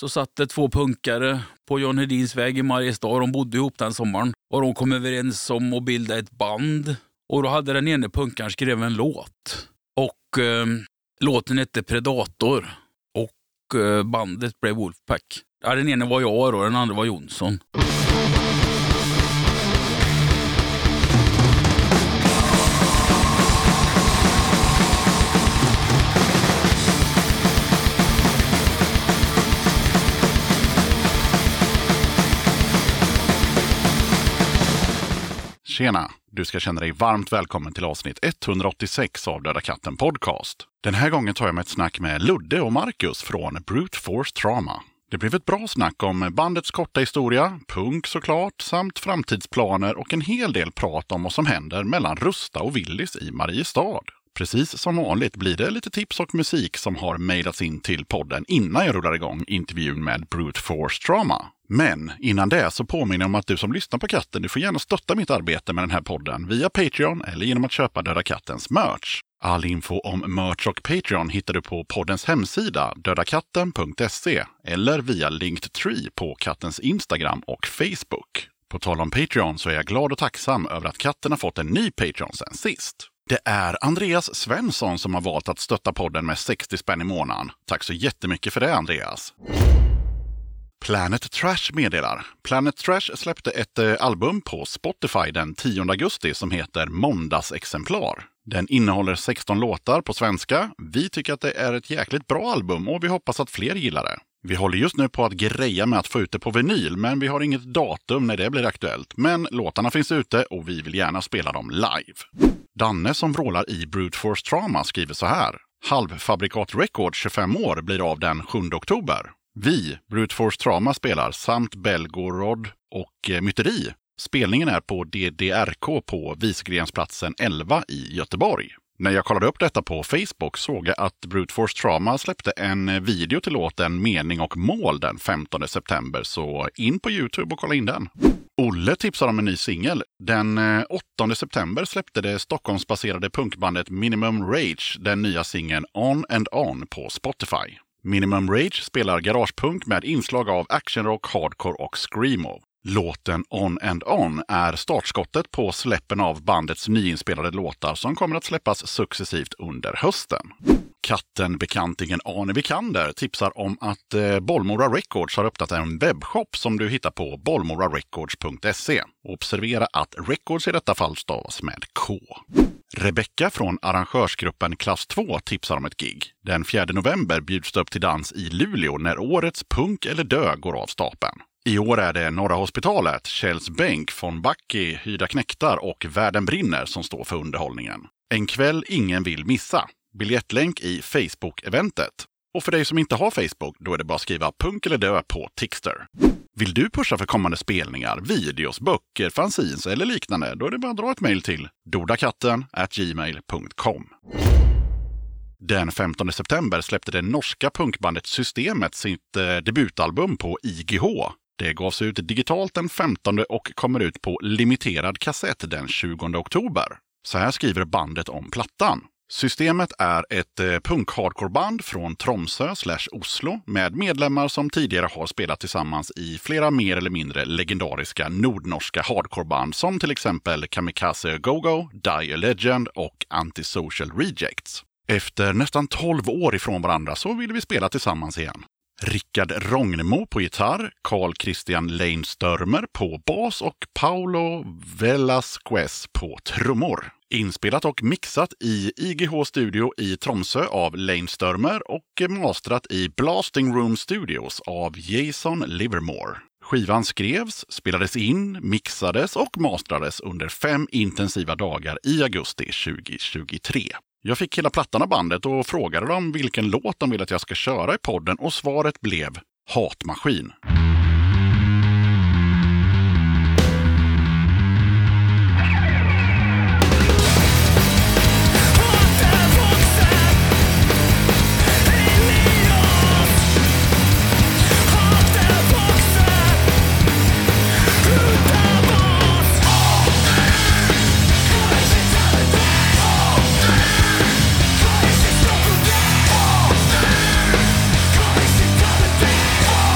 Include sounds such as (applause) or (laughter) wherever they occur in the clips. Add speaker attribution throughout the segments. Speaker 1: så satt det två punkare på John Hedins väg i Mariestad. De bodde ihop den sommaren och de kom överens om att bilda ett band. Och då hade den ene punkaren skrivit en låt. Och eh, låten hette Predator och eh, bandet blev Wolfpack. Ja, den ene var jag och den andra var Jonsson.
Speaker 2: Tjena! Du ska känna dig varmt välkommen till avsnitt 186 av Döda katten Podcast. Den här gången tar jag mig ett snack med Ludde och Marcus från Brute Force Trauma. Det blev ett bra snack om bandets korta historia, punk såklart, samt framtidsplaner och en hel del prat om vad som händer mellan Rusta och Willis i Mariestad. Precis som vanligt blir det lite tips och musik som har mejlats in till podden innan jag rullar igång intervjun med Brute Force Trauma. Men innan det så påminner jag om att du som lyssnar på katten, du får gärna stötta mitt arbete med den här podden via Patreon eller genom att köpa Döda Kattens merch. All info om merch och Patreon hittar du på poddens hemsida dödakatten.se eller via Linktree på kattens Instagram och Facebook. På tal om Patreon så är jag glad och tacksam över att katten har fått en ny Patreon sen sist. Det är Andreas Svensson som har valt att stötta podden med 60 spänn i månaden. Tack så jättemycket för det Andreas! Planet Trash meddelar. Planet Trash släppte ett eh, album på Spotify den 10 augusti som heter Måndagsexemplar. Den innehåller 16 låtar på svenska. Vi tycker att det är ett jäkligt bra album och vi hoppas att fler gillar det. Vi håller just nu på att greja med att få ut det på vinyl, men vi har inget datum när det blir aktuellt. Men låtarna finns ute och vi vill gärna spela dem live. Danne som vrålar i Brute Force Trauma skriver så här. Halvfabrikat Record 25 år blir av den 7 oktober. Vi, Brute Force Trauma spelar samt Belgorod och eh, Myteri. Spelningen är på DDRK på Visgrensplatsen 11 i Göteborg. När jag kollade upp detta på Facebook såg jag att Brute Force Trauma släppte en eh, video till låten Mening och mål den 15 september, så in på Youtube och kolla in den. Olle tipsar om en ny singel. Den eh, 8 september släppte det Stockholmsbaserade punkbandet Minimum Rage den nya singeln On and On på Spotify. Minimum Rage spelar garagepunk med inslag av actionrock, hardcore och screamo. Låten On and On är startskottet på släppen av bandets nyinspelade låtar som kommer att släppas successivt under hösten. Katten bekantingen Arne Vikander tipsar om att eh, Bollmora Records har öppnat en webbshop som du hittar på bollmorarecords.se. Observera att records i detta fall stavas med K. Rebecka från arrangörsgruppen Klass 2 tipsar om ett gig. Den 4 november bjuds det upp till dans i Luleå när årets Punk eller dö går av stapeln. I år är det Norra Hospitalet, Kjells Bänk, von Backe, Hyrda Knektar och Världen brinner som står för underhållningen. En kväll ingen vill missa. Biljettlänk i Facebook-eventet. Och för dig som inte har Facebook, då är det bara att skriva punk eller dö på Tixter. Vill du pusha för kommande spelningar, videos, böcker, fanzines eller liknande? Då är det bara att dra ett mejl till dodakatten gmail.com. Den 15 september släppte det norska punkbandet Systemet sitt eh, debutalbum på IGH. Det gavs ut digitalt den 15 och kommer ut på limiterad kassett den 20 oktober. Så här skriver bandet om plattan. Systemet är ett eh, punk-hardcoreband från Tromsö slash Oslo med medlemmar som tidigare har spelat tillsammans i flera mer eller mindre legendariska nordnorska hardcoreband som till exempel Kamikaze Go-Go, Die a Legend och Antisocial Rejects. Efter nästan 12 år ifrån varandra så ville vi spela tillsammans igen. Rickard Rognemo på gitarr, Carl Christian Lane Störmer på bas och Paolo Velasquez på trummor. Inspelat och mixat i IGH Studio i Tromsö av Lane Störmer och mastrat i Blasting Room Studios av Jason Livermore. Skivan skrevs, spelades in, mixades och mastrades under fem intensiva dagar i augusti 2023. Jag fick hela plattan av bandet och frågade dem vilken låt de ville att jag ska köra i podden och svaret blev Hatmaskin.
Speaker 3: Yeah!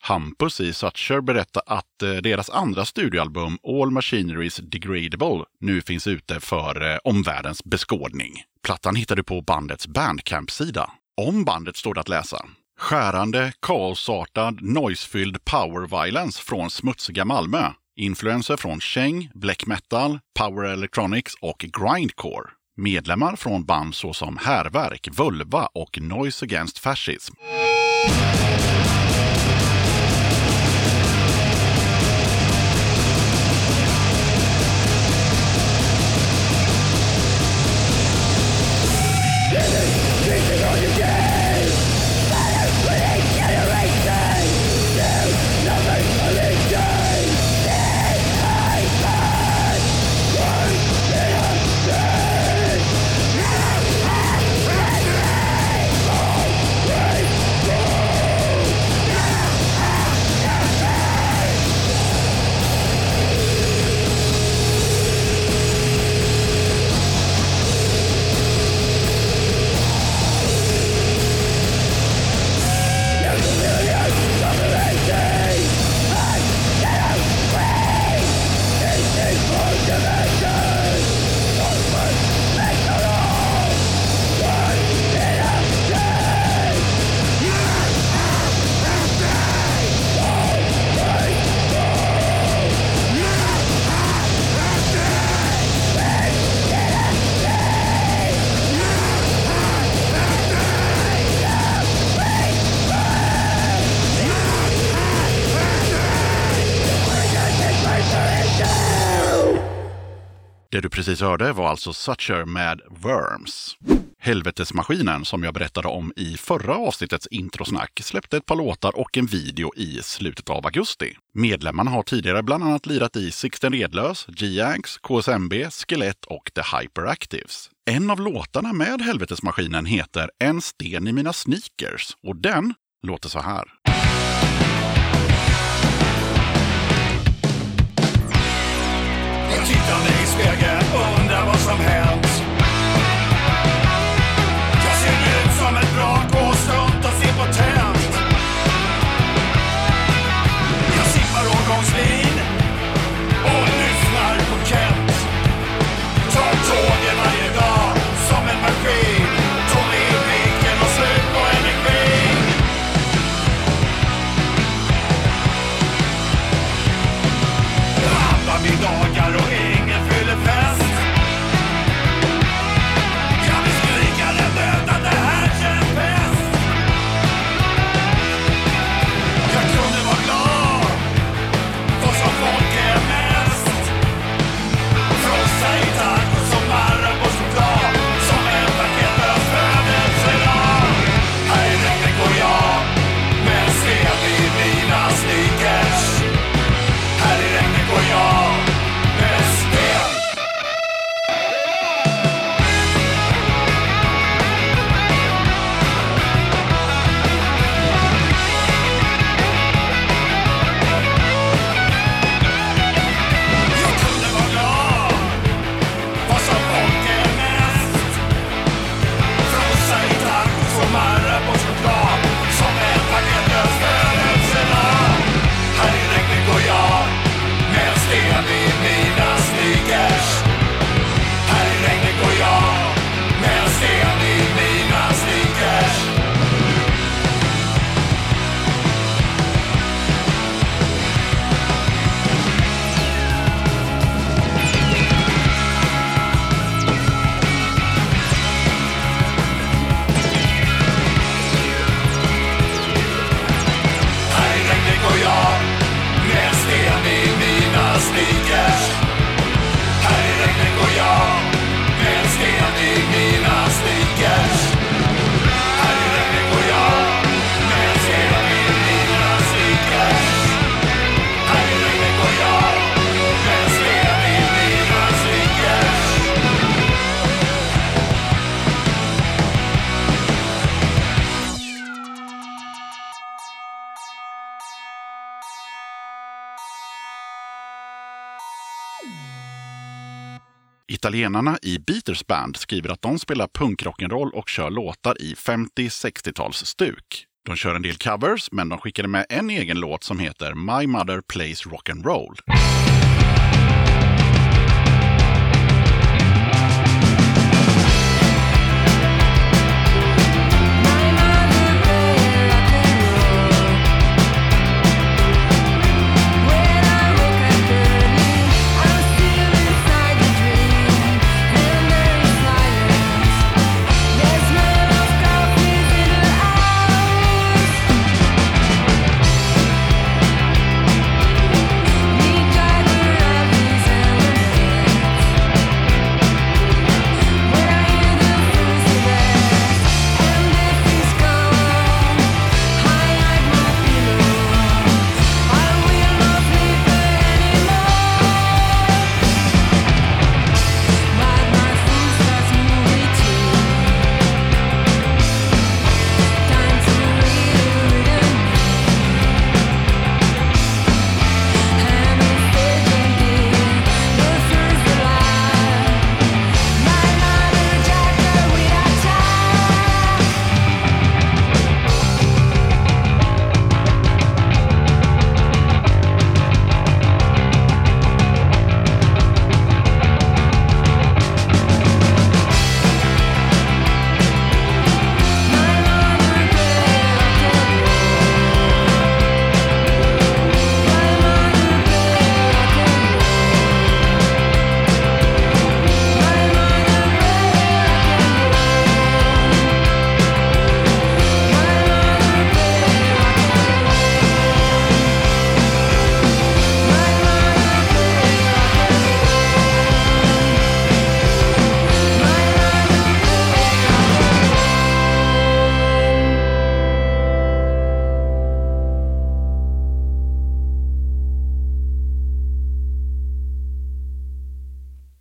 Speaker 2: Hampus i Sucher berättar att eh, deras andra studioalbum All Machineries Degradable nu finns ute för eh, omvärldens beskådning. Plattan hittar du på bandets Bandcamp-sida. Om bandet står det att läsa. Skärande, kaosartad, noisefylld power violence från smutsiga Malmö. Influenser från Cheng, black metal, power electronics och grindcore. Medlemmar från band såsom Härverk, Vulva och Noise Against Fascism. Det du precis hörde var alltså Sucher med Worms. Helvetesmaskinen, som jag berättade om i förra avsnittets introsnack, släppte ett par låtar och en video i slutet av augusti. Medlemmarna har tidigare bland annat lirat i Sixten Redlös, G-Anx, KSMB, Skelett och The Hyperactives. En av låtarna med Helvetesmaskinen heter En sten i mina sneakers och den låter så här.
Speaker 3: Jag tittar mig i spegeln och undrar vad som hänt. Jag ser ut som ett vrak och stumt och impotent. Jag sippar årgångsvin och lyssnar på Kent. Tar tåget varje dag som en maskin. Tom i blicken och slut på energi. Alla vi dagar och ingen fyller fest Kan vi skrika den död att det här känns bäst? Jag kunde vara glad för som folk är mest Frossa i tacos som Marabou choklad Som en paketlös födelsedag Här i regnet går jag med sten i mina sneakers här i regnet går jag med sten Jag kunde vara glad Vad som folk är mest Frossa i tacos och Marabou choklad Som en paketlös födelsedag Här i regnet går jag Med en sten i mina sneakers Här i regnet går jag Med en sten i mina sneakers Här i regnet går jag Med en sten i mina sneakers Här i regnet går jag Med en sten i mina sneakers Här i regnet går jag Med en sten i mina sneakers Här i regnet går jag Med en sten i mina sneakers
Speaker 2: Italienarna i Beaters Band skriver att de spelar punkrock'n'roll och kör låtar i 50-60-tals stuk. De kör en del covers, men de skickade med en egen låt som heter My Mother Plays Rock'n'Roll.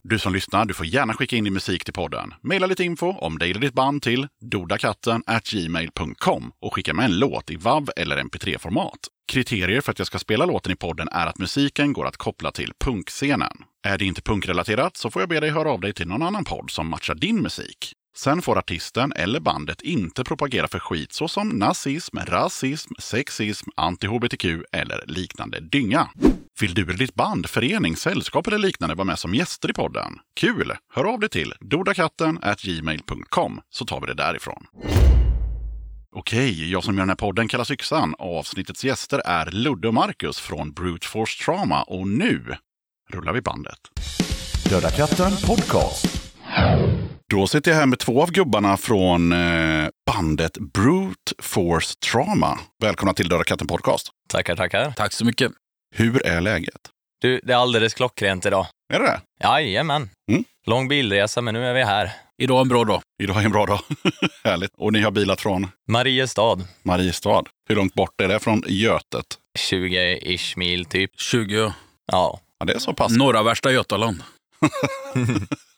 Speaker 2: Du som lyssnar, du får gärna skicka in din musik till podden. Maila lite info om dig eller ditt band till dodakatten@gmail.com och skicka med en låt i WAV eller MP3-format. Kriterier för att jag ska spela låten i podden är att musiken går att koppla till punkscenen. Är det inte punkrelaterat så får jag be dig höra av dig till någon annan podd som matchar din musik. Sen får artisten eller bandet inte propagera för skit såsom nazism, rasism, sexism, anti-hbtq eller liknande dynga. Vill du eller ditt band, förening, sällskap eller liknande vara med som gäster i podden? Kul! Hör av dig till dodakatten gmail.com så tar vi det därifrån. Okej, jag som gör den här podden kallas Yxan. Avsnittets gäster är Ludde och Marcus från Brute Force Trauma och nu rullar vi bandet.
Speaker 4: Döda katten podcast.
Speaker 2: Då sitter jag här med två av gubbarna från eh, bandet Brute Force Trauma. Välkomna till Döda katten podcast.
Speaker 3: Tackar, tackar.
Speaker 1: Tack så mycket.
Speaker 2: Hur är läget?
Speaker 3: Du, det är alldeles klockrent idag.
Speaker 2: Är det det?
Speaker 3: Jajamän.
Speaker 2: Mm.
Speaker 3: Lång bilresa, men nu är vi här.
Speaker 1: Idag är en bra dag.
Speaker 2: Idag är en bra dag. (laughs) Härligt. Och ni har bilat från
Speaker 3: Mariestad.
Speaker 2: Mariestad. Hur långt bort är det från Götet?
Speaker 3: 20-ish mil typ.
Speaker 1: 20
Speaker 3: Ja.
Speaker 2: Ja, det är så pass.
Speaker 1: norra värsta Götaland.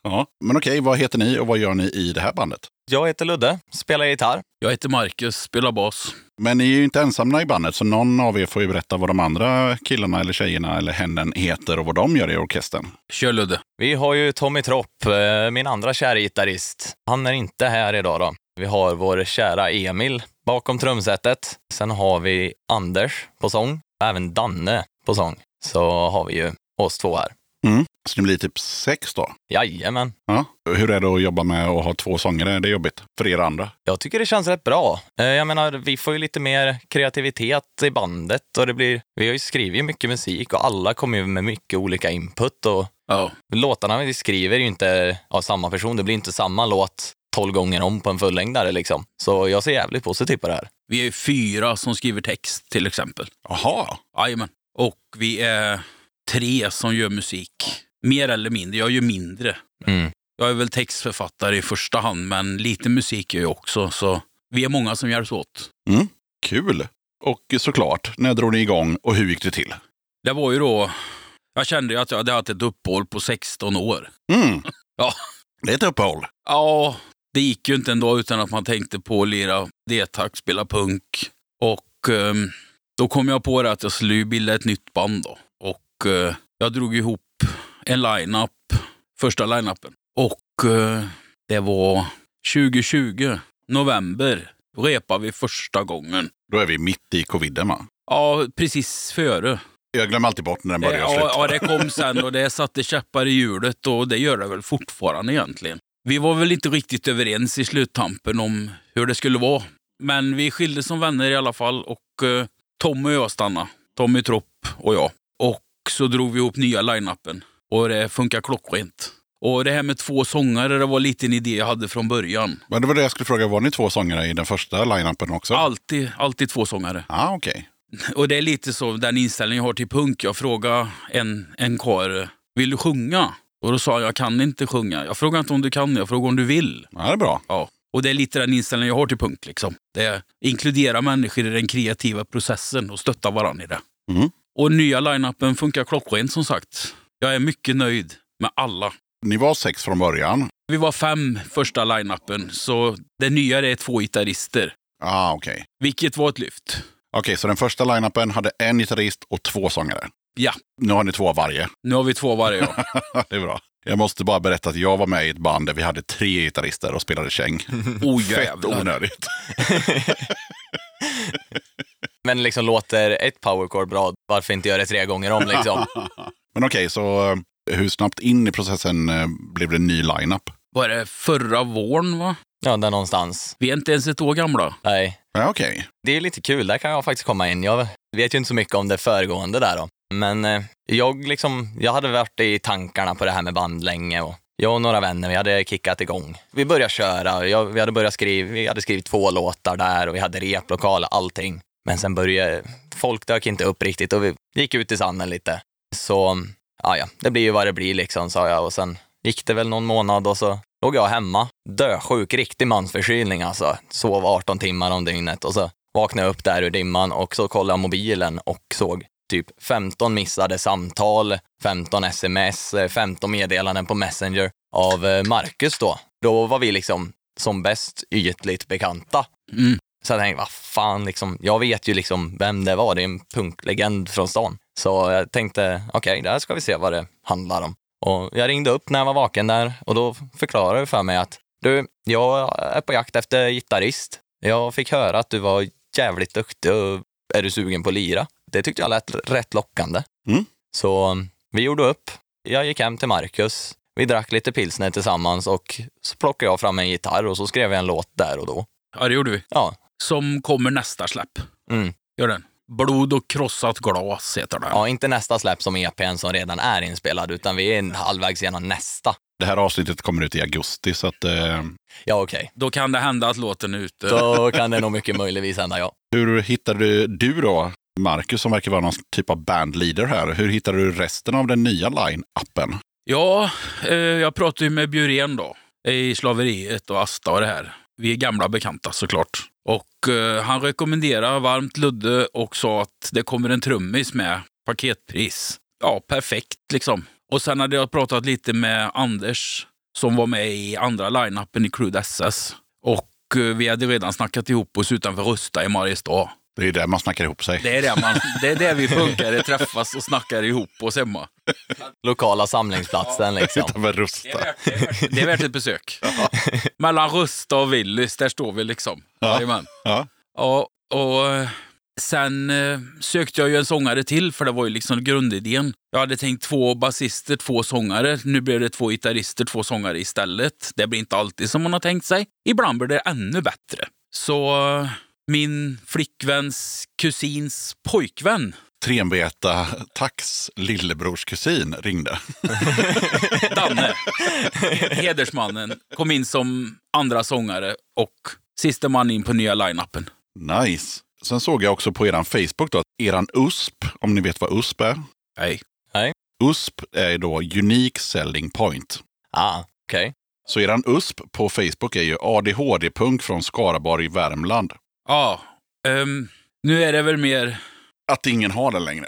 Speaker 2: Ja. Men okej, vad heter ni och vad gör ni i det här bandet?
Speaker 3: Jag heter Ludde, spelar gitarr.
Speaker 1: Jag heter Marcus, spelar bas.
Speaker 2: Men ni är ju inte ensamma i bandet, så någon av er får ju berätta vad de andra killarna eller tjejerna eller hännen heter och vad de gör i orkestern.
Speaker 1: Kör Ludde.
Speaker 3: Vi har ju Tommy Tropp, eh, min andra kära gitarrist. Han är inte här idag då. Vi har vår kära Emil bakom trumsetet. Sen har vi Anders på sång, även Danne på sång. Så har vi ju oss två här.
Speaker 2: Så ni blir typ sex då?
Speaker 3: Jajamän.
Speaker 2: Ja. Hur är det att jobba med att ha två sångare? Är det jobbigt för er andra?
Speaker 3: Jag tycker det känns rätt bra. Eh, Jag menar, vi får ju lite mer kreativitet i bandet och det blir, vi har ju skrivit mycket musik och alla kommer ju med mycket olika input och
Speaker 1: Ja.
Speaker 3: låtarna vi skriver är ju inte av samma person. Det blir inte samma låt tolv gånger om på en fullängdare liksom. Så jag ser jävligt positivt på det här. (laughs)
Speaker 1: Vi är fyra som skriver text till exempel.
Speaker 2: Jaha,
Speaker 1: Jajamän. Och vi är tre som gör musik. Mer eller mindre. Jag gör mindre.
Speaker 3: Mm.
Speaker 1: Jag är väl textförfattare i första hand, men lite musik gör jag också. Så vi är många som hjälps åt.
Speaker 2: kul! Och såklart, när drog ni igång och hur gick det till?
Speaker 1: Det var ju då... Jag kände ju att jag hade haft ett uppehåll på 16 år.
Speaker 2: Mm.
Speaker 1: Ja.
Speaker 2: Det är ett uppehåll.
Speaker 1: Ja, det gick ju inte en dag utan att man tänkte på att lira D-takt, spela punk. Och ehm, då kom jag på det att jag skulle ju bilda ett nytt band då. Och eh, jag drog ihop en line-up, första line-upen. Och eh, det var 2020, november. repar vi första gången.
Speaker 2: Då är vi mitt i coviden va?
Speaker 1: Ja, precis före.
Speaker 2: Jag glömmer alltid bort när den börjar och
Speaker 1: ja,
Speaker 2: slutar.
Speaker 1: ja, det kom sen och det satte käppar i hjulet och det gör det väl fortfarande egentligen. Vi var väl inte riktigt överens i sluttampen om hur det skulle vara. Men vi skildes som vänner i alla fall och eh, Tommy och jag stannade. Tommy Tropp och jag. Och så drog vi ihop nya line-upen och det funkar klockrent. Och det här med två sångare, det var lite en idé jag hade från början.
Speaker 2: Men det var det jag skulle fråga, var ni två sångare i den första line-upen också?
Speaker 1: Alltid, alltid två sångare.
Speaker 2: Ah, okej.
Speaker 1: Och det är lite så den inställningen jag har till punk. Jag frågade en, en karl, vill du sjunga? Och då sa han, jag kan inte sjunga. Jag frågar inte om du kan, jag frågar om du vill.
Speaker 2: Ja, det är bra.
Speaker 1: Ja. Och det är lite den inställningen jag har till punk. Liksom. Det är, inkludera människor i den kreativa processen och stötta varandra i det.
Speaker 2: Mm.
Speaker 1: Och nya line-upen funkar klockrent som sagt. Jag är mycket nöjd med alla.
Speaker 2: Ni var sex från början.
Speaker 1: Vi var fem första line-upen, så det nya är två gitarrister.
Speaker 2: Ah, okej. Okej,
Speaker 1: Vilket var ett lyft.
Speaker 2: så den första line-upen hade en gitarrist och två sångare.
Speaker 1: Ja,
Speaker 2: Nu har ni två av varje. (laughs)
Speaker 1: nu har vi två varje. ja.
Speaker 2: det är bra. Jag måste bara berätta att jag var med i ett band där vi hade tre gitarrister och spelade käng.
Speaker 1: Oh,
Speaker 2: Fett
Speaker 1: jävlar.
Speaker 2: onödigt.
Speaker 3: Men liksom låter ett powerchord bra, varför inte göra det tre gånger
Speaker 2: (laughs)
Speaker 3: om liksom?
Speaker 2: Men okej, så eh, hur snabbt in i processen eh, blev det en ny line-up?
Speaker 1: Var det förra våren? va?
Speaker 3: Ja, där någonstans.
Speaker 1: Vi är inte ens ett år gamla.
Speaker 3: Nej.
Speaker 2: Ja, okej.
Speaker 3: Det är lite kul, där kan jag faktiskt komma in. Jag vet ju inte så mycket om det föregående där då. Men eh, jag, liksom, jag hade varit i tankarna på det här med band länge och jag och några vänner, vi hade kickat igång. Vi började köra, och jag, vi, hade börjat skriva, vi hade skrivit två låtar där och vi hade replokal och allting. Men sen började, folk dök inte upp riktigt och vi gick ut i sanden lite. Så, ja ja, det blir ju vad det blir liksom, sa jag och sen gick det väl någon månad och så låg jag hemma, dösjuk, riktig mansförkylning alltså. Sov 18 timmar om dygnet och så vaknade jag upp där ur dimman och så kollade jag mobilen och såg typ 15 missade samtal, 15 sms, eh, 15 meddelanden på Messenger av eh, Marcus då. Då var vi liksom som bäst ytligt bekanta.
Speaker 1: Mm.
Speaker 3: Så jag tänkte, vad fan, liksom, jag vet ju liksom vem det var, det är en punklegend från stan. Så jag tänkte, okej, där ska vi se vad det handlar om. Och jag ringde upp när jag var vaken där och då förklarade du för mig att du, jag är på jakt efter gitarrist. Jag fick höra att du var jävligt duktig och är du sugen på att lira? Det tyckte jag lät rätt lockande.
Speaker 2: Mm.
Speaker 3: Så um, vi gjorde upp. Jag gick hem till Marcus. Vi drack lite pilsner tillsammans och så plockade jag fram en gitarr och så skrev jag en låt där och då.
Speaker 1: Ja, det gjorde vi.
Speaker 3: Ja,
Speaker 1: Som kommer nästa släpp.
Speaker 3: mm.
Speaker 1: Gör den. Blod och krossat glas heter den.
Speaker 3: ja inte nästa släpp som EPn som redan är inspelad utan vi är en halvvägs genom nästa.
Speaker 2: Det här avsnittet kommer ut i augusti, så att, eh,
Speaker 1: (laughs)
Speaker 3: Ja, okej.
Speaker 1: Då kan det hända att låten är ute.
Speaker 3: Då kan det nog mycket möjligtvis hända, ja.
Speaker 2: hur hittade du, du då, Marcus som verkar vara någon typ av bandleader här, hur hittade du resten av den nya line-upen?
Speaker 1: Ja, eh, jag pratade ju med Bjurén då. I slaveriet och Asta och det här. Vi är gamla bekanta såklart. Och eh, han rekommenderade varmt Ludde och sa att det kommer en trummis med paketpris. Ja, perfekt liksom. Och sen hade jag pratat lite med Anders som var med i andra line-upen i Crude SS. Och eh, vi hade redan snackat ihop oss utanför Rusta i Mariestad.
Speaker 2: Det är där man snackar ihop (laughs) sig.
Speaker 1: Det är där, man, det är där vi punkare träffas och snackar ihop oss hemma.
Speaker 3: Lokala
Speaker 2: (laughs)
Speaker 3: samlingsplatsen liksom.
Speaker 2: Utanför Rusta.
Speaker 1: Det är värt ett (laughs) besök. Mellan Rusta och Willys, där står vi liksom. Jajamän.
Speaker 2: Ja.
Speaker 1: Ja, och eh, sen eh, sökte jag ju en sångare till, för det var ju liksom grundidén. Jag hade tänkt två basister, två sångare. Nu blev det två gitarrister, två sångare istället. Det blir inte alltid som man har tänkt sig. Ibland blir det ännu bättre. Så eh, min flickväns kusins pojkvän,
Speaker 2: Trenveta Tax lillebrors kusin ringde.
Speaker 1: Danne, hedersmannen, kom in som andra sångare och sista man in på nya line-upen.
Speaker 2: Nice. Sen såg jag också på eran Facebook då, att eran USP, om ni vet vad USP är.
Speaker 1: Nej.
Speaker 2: USP är då Unique Selling Point.
Speaker 3: Ah, okej.
Speaker 2: Så eran USP på Facebook är ju ADHD-punk från Skaraborg, Värmland.
Speaker 1: Ja, ehm, nu är det väl mer...
Speaker 2: Att ingen har den längre.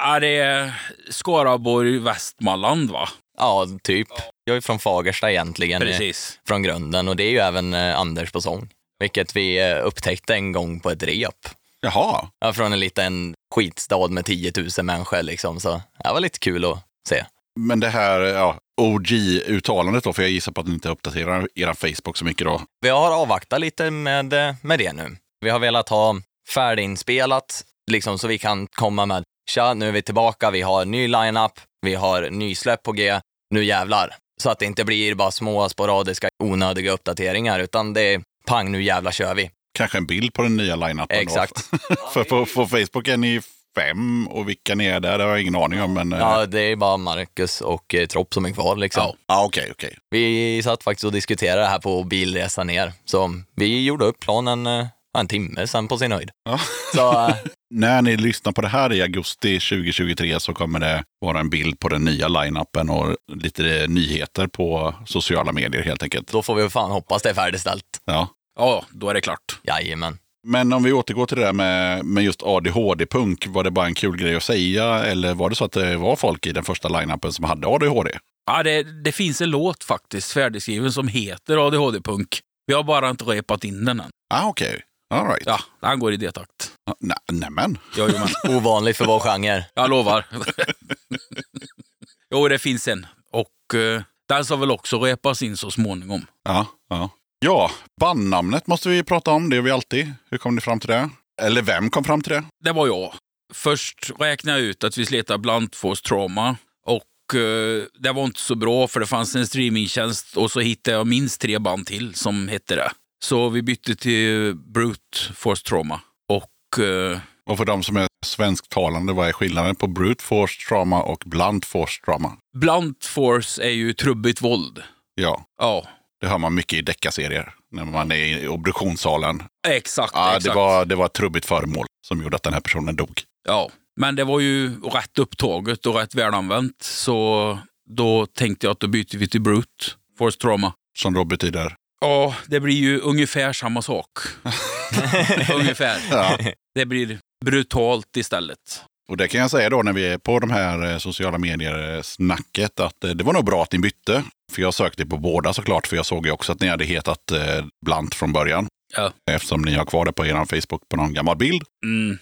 Speaker 1: Ja, det är Skaraborg, Västmanland va?
Speaker 3: Ja, typ. Jag är från Fagersta egentligen. eh,
Speaker 1: Precis.
Speaker 3: från grunden och det är ju även eh, Anders på sång. Vilket vi eh, upptäckte en gång på ett rep.
Speaker 2: Jaha,
Speaker 3: Ja, från en liten skitstad med 10 000 människor liksom. Så det var lite kul att se.
Speaker 2: men det här, ja, OG-uttalandet då, för jag gissar på att ni inte uppdaterar er Facebook så mycket då.
Speaker 5: Vi har avvaktat lite med, eh, med det nu. Vi har velat ha färdiginspelat, liksom så vi kan komma med tja, nu är vi tillbaka, vi har ny lineup, vi har nysläpp på G, nu jävlar. Så att det inte blir bara små sporadiska onödiga uppdateringar, utan det är pang, nu jävlar kör vi.
Speaker 2: Kanske en bild på den nya line-upen då.
Speaker 5: Exakt.
Speaker 2: för på, på Facebook är ni fem och vilka ni är där det har jag ingen aning om. Men, eh,
Speaker 5: Ja, det är bara Marcus och eh, Tropp som är kvar liksom.
Speaker 2: ja. Ja, okej, okej.
Speaker 5: Vi satt faktiskt och diskuterade det här på bilresan ner, så vi gjorde upp planen eh, en timme sen på sin höjd.
Speaker 2: Ja.
Speaker 5: Så eh,
Speaker 2: När ni lyssnar på det här i augusti 2023 så kommer det vara en bild på den nya line-upen och lite eh, nyheter på sociala medier helt enkelt.
Speaker 5: då får vi fan hoppas det är färdigställt.
Speaker 2: Ja.
Speaker 1: Ja, då är det klart.
Speaker 5: Jajamän.
Speaker 2: Men om vi återgår till det där med, med just ADHD-punk, var det bara en kul grej att säga eller var det så att det var folk i den första line-upen som hade ADHD?
Speaker 1: Ja, det, det finns en låt faktiskt färdigskriven som heter ADHD-punk. Vi har bara inte repat in den än.
Speaker 2: Ah, okej. All right.
Speaker 1: Ja, han går i det takt.
Speaker 2: Ah, nä- Nämen.
Speaker 1: Jajamän.
Speaker 5: Ovanligt för vår genre.
Speaker 1: Jag lovar. jo, det finns en. Och eh, den ska väl också repas in så småningom.
Speaker 2: Ja, ja. Ja, bandnamnet måste vi prata om. Det gör vi alltid. Hur kom ni fram till det? Eller vem kom fram till det?
Speaker 1: Det var jag. Först räknade jag ut att vi sletade Blandfors Trauma. Och eh, det var inte så bra för det fanns en streamingtjänst och så hittade jag minst tre band till som hette det. Så vi bytte till Brute Force Trauma. Och eh,
Speaker 2: Och för de som är svensktalande, vad är skillnaden på brute force trauma och blunt force trauma?
Speaker 1: Blunt Force är ju trubbigt våld.
Speaker 2: Ja,
Speaker 1: Ja,
Speaker 2: det hör man mycket i deckarserier när man är i obduktionssalen.
Speaker 1: exakt.
Speaker 2: Ja,
Speaker 1: exakt.
Speaker 2: det, var, det var ett trubbigt föremål som gjorde att den här personen dog.
Speaker 1: Ja, men det var ju rätt upptaget och rätt välanvänt. Så då tänkte jag att då byter vi till Brute Force Trauma.
Speaker 2: Som då betyder...
Speaker 1: Ja, det blir ju ungefär samma sak. ungefär.
Speaker 2: Ja.
Speaker 1: Det blir brutalt istället.
Speaker 2: (laughs) Och det kan jag säga då när vi är på de här eh, sociala medier-snacket att eh, det var nog bra att ni bytte. För jag sökte på båda såklart, för jag såg ju också att ni hade hetat eh, Blant från början.
Speaker 1: Ja.
Speaker 2: Eftersom ni har kvar det på er Facebook på någon gammal bild.
Speaker 1: Mm.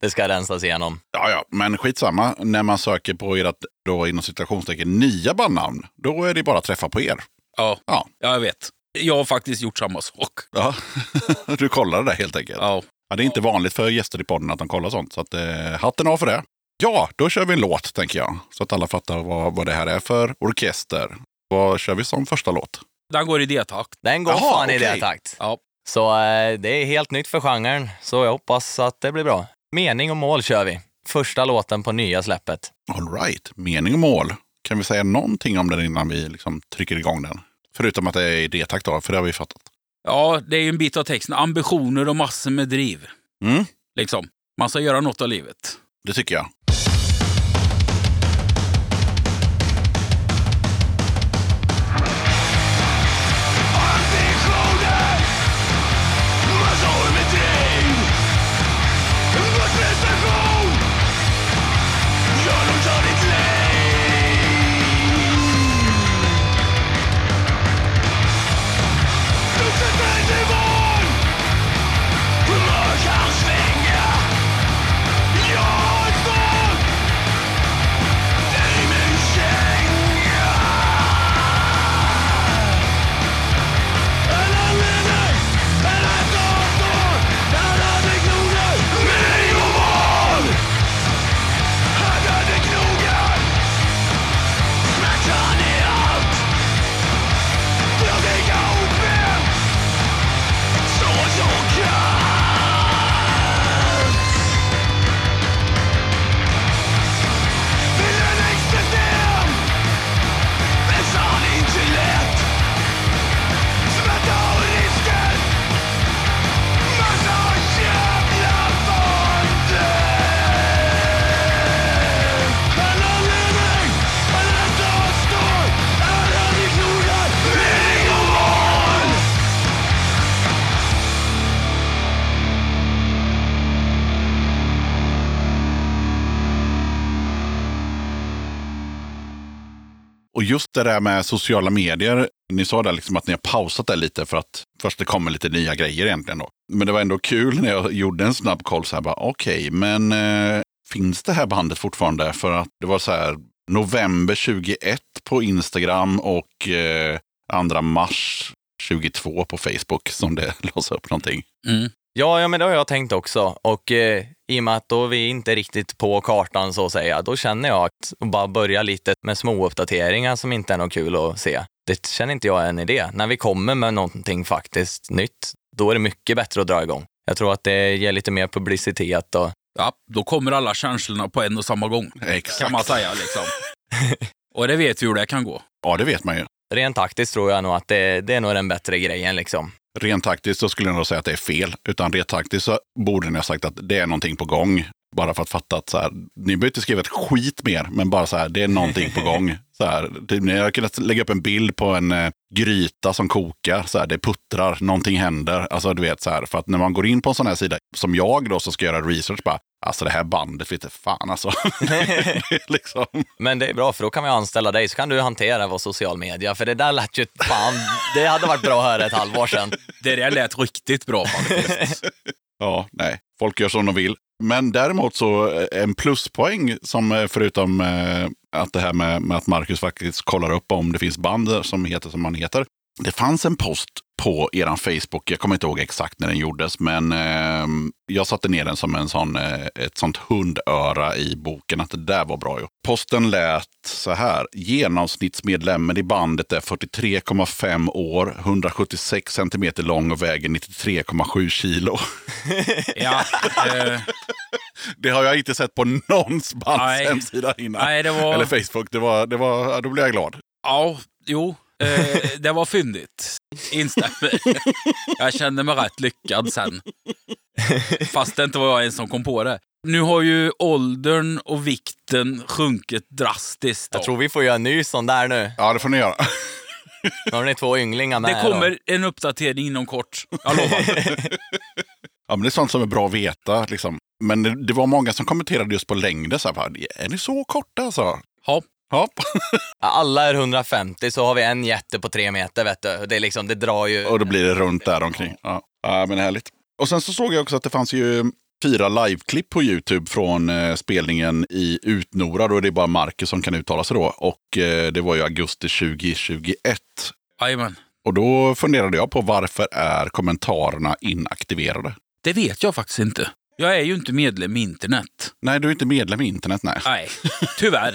Speaker 5: Det ska rensas igenom.
Speaker 2: Ja, ja, men skitsamma. När man söker på ert, då inom citationstecken, nya bandnamn, då är det bara att träffa på er.
Speaker 1: Ja,
Speaker 2: Ja.
Speaker 1: ja. jag vet. Jag har faktiskt gjort samma sak.
Speaker 2: Ja. (laughs) du kollar det där helt enkelt. Ja.
Speaker 1: Ja.
Speaker 2: det är inte vanligt för gäster i podden att de kollar sånt, så att, eh, hatten av för det. Ja, då kör vi en låt, tänker jag. Så att alla fattar vad, vad det här är för orkester. Vad kör vi som första låt?
Speaker 1: Den går i D-takt.
Speaker 5: Den går
Speaker 2: Jaha,
Speaker 5: fan i
Speaker 2: okej.
Speaker 5: det takt.
Speaker 1: Ja.
Speaker 5: Så eh, det är helt nytt för genren, så jag hoppas att det blir bra. Mening och mål kör vi. Första låten på nya släppet.
Speaker 2: All right, mening och mål. Kan vi säga någonting om den innan vi liksom trycker igång den? Förutom att det är i D-takt då, för det har vi fattat.
Speaker 1: Ja, det är ju en bit av texten. Ambitioner och massor med driv.
Speaker 2: Mm.
Speaker 1: Liksom. Man ska göra något av livet.
Speaker 2: Det tycker jag.
Speaker 3: Ambitioner, massor med driv. Vår prestation, gör något av ditt liv. Du sätter nivån, humör kan svänga. Jag är svag, dig min känga. Inte lätt
Speaker 2: Och just det där med sociala medier. Ni sa där liksom att ni har pausat det lite för att först det kommer lite nya grejer egentligen. Då. Men det var ändå kul när jag gjorde en snabb koll så här bara okej, men eh, finns det här bandet fortfarande? För att det var så här, november 21 på Instagram och eh, 2 mars 22 på Facebook som det (laughs) lades upp någonting.
Speaker 1: Mm.
Speaker 5: Ja, ja, men det har jag tänkt också. Och eh, i och med att då vi inte är riktigt på kartan så att säga, då känner jag att bara börja lite med små uppdateringar som inte är något kul att se. Det känner inte jag är en idé. När vi kommer med någonting faktiskt nytt, då är det mycket bättre att dra igång. Jag tror att det ger lite mer publicitet och
Speaker 1: Ja, då kommer alla känslorna på en och samma gång, kan man
Speaker 2: Exakt.
Speaker 1: säga. Liksom. och det vet vi hur det kan gå.
Speaker 2: Ja, det vet man ju.
Speaker 5: rent taktiskt tror jag nog att det, det är nog den bättre grejen liksom.
Speaker 2: Rent taktiskt så skulle jag nog säga att det är fel. Utan rent taktiskt så borde ni ha sagt att det är någonting på gång. Bara för att fatta att så här, ni behöver inte skriva ett skit mer, men bara så här, det är någonting på gång. Så här, typ, ni har kunnat lägga upp en bild på en eh, gryta som kokar, så här, det puttrar, någonting händer. Alltså du vet så här, för att när man går in på en sån här sida, som jag då som ska göra research, bara, alltså det här bandet, vet inte fan alltså. (laughs) Det är liksom,
Speaker 5: Men det är bra, för då kan vi anställa dig så kan du hantera vår social media. För det där lät ju fan, det hade varit bra att höra ett halvår sedan.
Speaker 1: Det där lät riktigt bra faktiskt.
Speaker 2: Ja, nej. Folk gör som de vill. Men däremot så eh, en pluspoäng som eh, förutom eh, att det här med, med att Marcus faktiskt kollar upp om det finns band som heter som man heter. Det fanns en post på eran Facebook, jag kommer inte ihåg exakt när den gjordes, men eh, jag satte ner den som en sån, eh, ett sånt hundöra i boken att det där var bra. Ju. Posten lät så här. Genomsnittsmedlemmen i bandet är 43,5 år, 176 centimeter lång och väger 93,7 kilo.
Speaker 1: Ja, eh,
Speaker 2: Det har jag inte sett på någons bands
Speaker 1: Nej.
Speaker 2: hemsida innan.
Speaker 1: nej, det var...
Speaker 2: Eller Facebook. Det var, det var, ja, då blev jag glad.
Speaker 1: Ja, jo. Eh, det var fyndigt. Instämmer. Jag kände mig rätt lyckad sen. Fast det inte var jag en som kom på det. Nu har ju åldern och vikten sjunkit drastiskt. då.
Speaker 5: Jag tror vi får göra en ny sån där nu.
Speaker 2: Ja, det får ni göra. (laughs)
Speaker 5: Nu har ni två ynglingar med
Speaker 1: det
Speaker 5: här då.
Speaker 1: kommer en uppdatering inom kort. Jag lovar.
Speaker 2: Ja, men det är sånt som är bra att veta. Liksom. Men det, det var många som kommenterade just på längden. Så här, bara, är ni så korta alltså?
Speaker 1: Ja.
Speaker 2: Ja.
Speaker 5: Alla är 150 så har vi en jätte på tre meter vet du. Det, är liksom, det drar ju.
Speaker 2: Och då blir det runt där omkring. Ja. ja, men härligt. Och sen så såg jag också att det fanns ju fyra liveklipp på YouTube från eh, spelningen i Utnora. Då är det bara Marcus som kan uttala sig då. Och eh, det var ju augusti 2021.
Speaker 1: Jajamän.
Speaker 2: Och då funderade jag på varför är kommentarerna inaktiverade?
Speaker 1: Det vet jag faktiskt inte. Jag är ju inte medlem i internet.
Speaker 2: Nej, du är inte medlem i internet, nej.
Speaker 1: Nej, (laughs) tyvärr.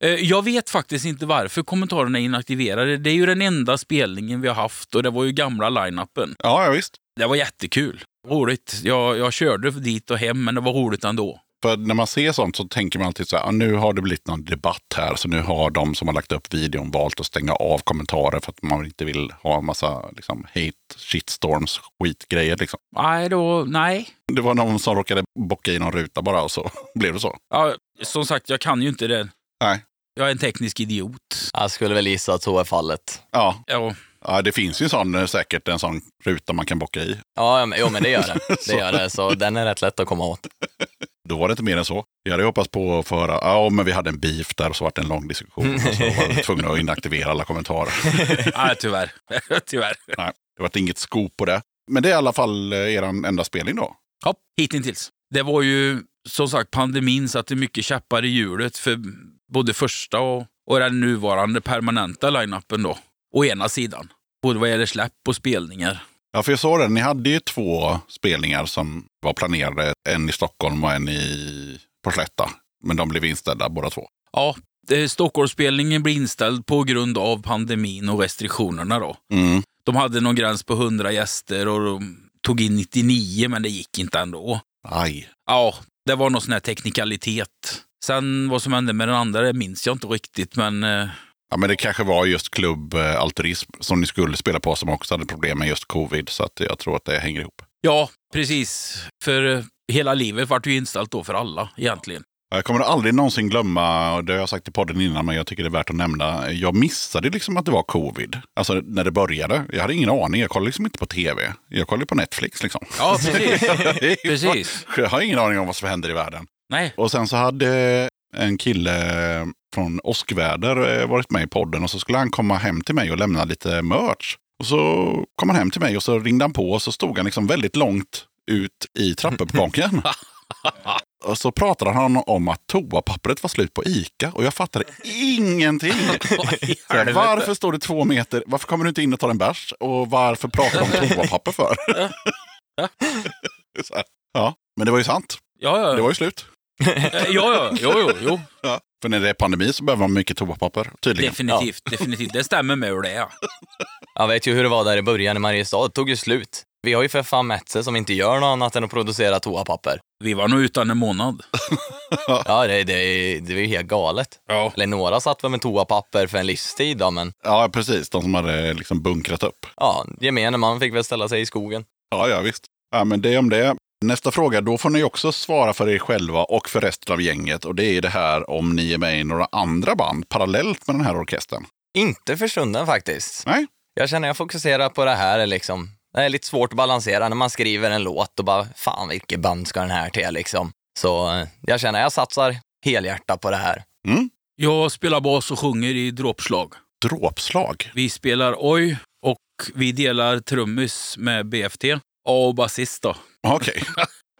Speaker 1: Eh, Jag vet faktiskt inte varför kommentarerna är inaktiverade. Det är ju den enda spelningen vi har haft och det var ju gamla line-upen.
Speaker 2: Ja, ja visst.
Speaker 1: Det var jättekul. Roligt. Jag, jag körde dit och hem, men det var roligt ändå.
Speaker 2: För när man ser sånt så tänker man alltid så här, "Ah, nu har det blivit någon debatt här, så nu har de som har lagt upp videon valt att stänga av kommentarer för att man inte vill ha en massa liksom, hate, shitstorms, skitgrejer. Liksom.
Speaker 1: Nej, då, nej.
Speaker 2: Det var någon som råkade bocka i någon ruta bara och så (laughs) blev det så.
Speaker 1: Ja, som sagt, jag kan ju inte det.
Speaker 2: Nej.
Speaker 1: Jag är en teknisk idiot.
Speaker 5: Jag skulle väl gissa att så är fallet.
Speaker 2: Ja,
Speaker 1: Ja,
Speaker 2: ja det finns ju en sån, eh, säkert en sån ruta man kan bocka i.
Speaker 5: Ja, ja, men, jo men det gör det.
Speaker 2: (laughs)
Speaker 5: Det gör det. Så den är rätt lätt att komma åt.
Speaker 2: Då var det inte mer än så. Jag hade hoppats på att få höra, ja men vi hade en beef där och så var det en lång diskussion och så var vi tvungna att inaktivera alla kommentarer.
Speaker 1: nej, tyvärr. (laughs) tyvärr.
Speaker 2: Det var inget skop på det. Men det är i alla fall eh, eran enda spelning då.
Speaker 1: Ja, hittills. Det var ju som sagt pandemin satte mycket käppar i hjulet för både första och, och den nuvarande permanenta line-upen då. Å ena sidan. Både vad gäller släpp och spelningar.
Speaker 2: Ja, för jag såg det. Ni hade ju två spelningar som var planerade. En i Stockholm och en i Porsletta. Men de blev inställda båda två.
Speaker 1: Ja, eh, Stockholmsspelningen blir inställd på grund av pandemin och restriktionerna då.
Speaker 2: Mm.
Speaker 1: De hade någon gräns på 100 gäster och de tog in 99 men det gick inte ändå.
Speaker 2: Aj.
Speaker 1: Ja, det var någon sån här teknikalitet. Sen vad som hände med den andra det minns jag inte riktigt men eh,
Speaker 2: Ja, men det kanske var just klubb eh, Altruism som ni skulle spela på som också hade problem med just covid. Så att jag tror att det hänger ihop.
Speaker 1: ja, precis. För eh, hela livet vart ju inställt då för alla egentligen.
Speaker 2: Jag kommer aldrig någonsin glömma, och det har jag sagt i podden innan, men jag tycker det är värt att nämna. Jag missade liksom att det var covid. Alltså när det började. Jag hade ingen aning. Jag kollade liksom inte på tv. Jag kollade på Netflix liksom. (laughs)
Speaker 1: Ja, precis. precis.
Speaker 2: Jag har ingen aning om vad som händer i världen.
Speaker 1: Nej,
Speaker 2: Och sen så hade en kille från Åskväder eh, varit med i podden och så skulle han komma hem till mig och lämna lite merch. Och så kom han hem till mig och så ringde han på och så stod han liksom väldigt långt ut i trappuppgången. och så pratade han om att toapappret var slut på ICA och jag fattade ingenting. Så här, varför står det två meter? Varför kommer du inte in och tar en bärs? Och varför pratar du om toapapper för? (laughs) Så här, ja, men det var ju sant.
Speaker 1: Ja, ja.
Speaker 2: Det var ju slut.
Speaker 1: Eh, ja, ja. Jo, jo, jo.
Speaker 2: Ja. För när det är pandemi så behöver man mycket toapapper, tydligen.
Speaker 1: Definitivt, definitivt. Det stämmer med hur det är.
Speaker 5: Jag vet ju hur det var där i början i Mariestad. Det tog ju slut. Vi har ju för fan Metze som inte gör något annat än att producera toapapper.
Speaker 1: Vi var nog utan en månad.
Speaker 5: Ja, det, det, det är ju helt galet.
Speaker 1: Ja.
Speaker 5: Eller några satt väl med toapapper för en livstid då, men
Speaker 2: Ja, precis. De som hade liksom bunkrat upp.
Speaker 5: ja, gemene man fick väl ställa sig i skogen.
Speaker 2: Ja, ja visst. Ja, men det om det. Nästa fråga, då får ni också svara för er själva och för resten av gänget. Och det är det här om ni är med i några andra band parallellt med den här orkestern.
Speaker 5: Inte för stunden faktiskt.
Speaker 2: Nej.
Speaker 5: Jag känner jag fokuserar på det här liksom. Det är lite svårt att balansera när man skriver en låt och bara fan vilket band ska den här till liksom. Så eh, jag känner jag satsar helhjärtat på det här.
Speaker 1: Jag spelar bas och sjunger i dråpslag.
Speaker 2: Dråpslag.
Speaker 1: Vi spelar Oj och vi delar trummis med BFT. A och basist då.
Speaker 2: Okej.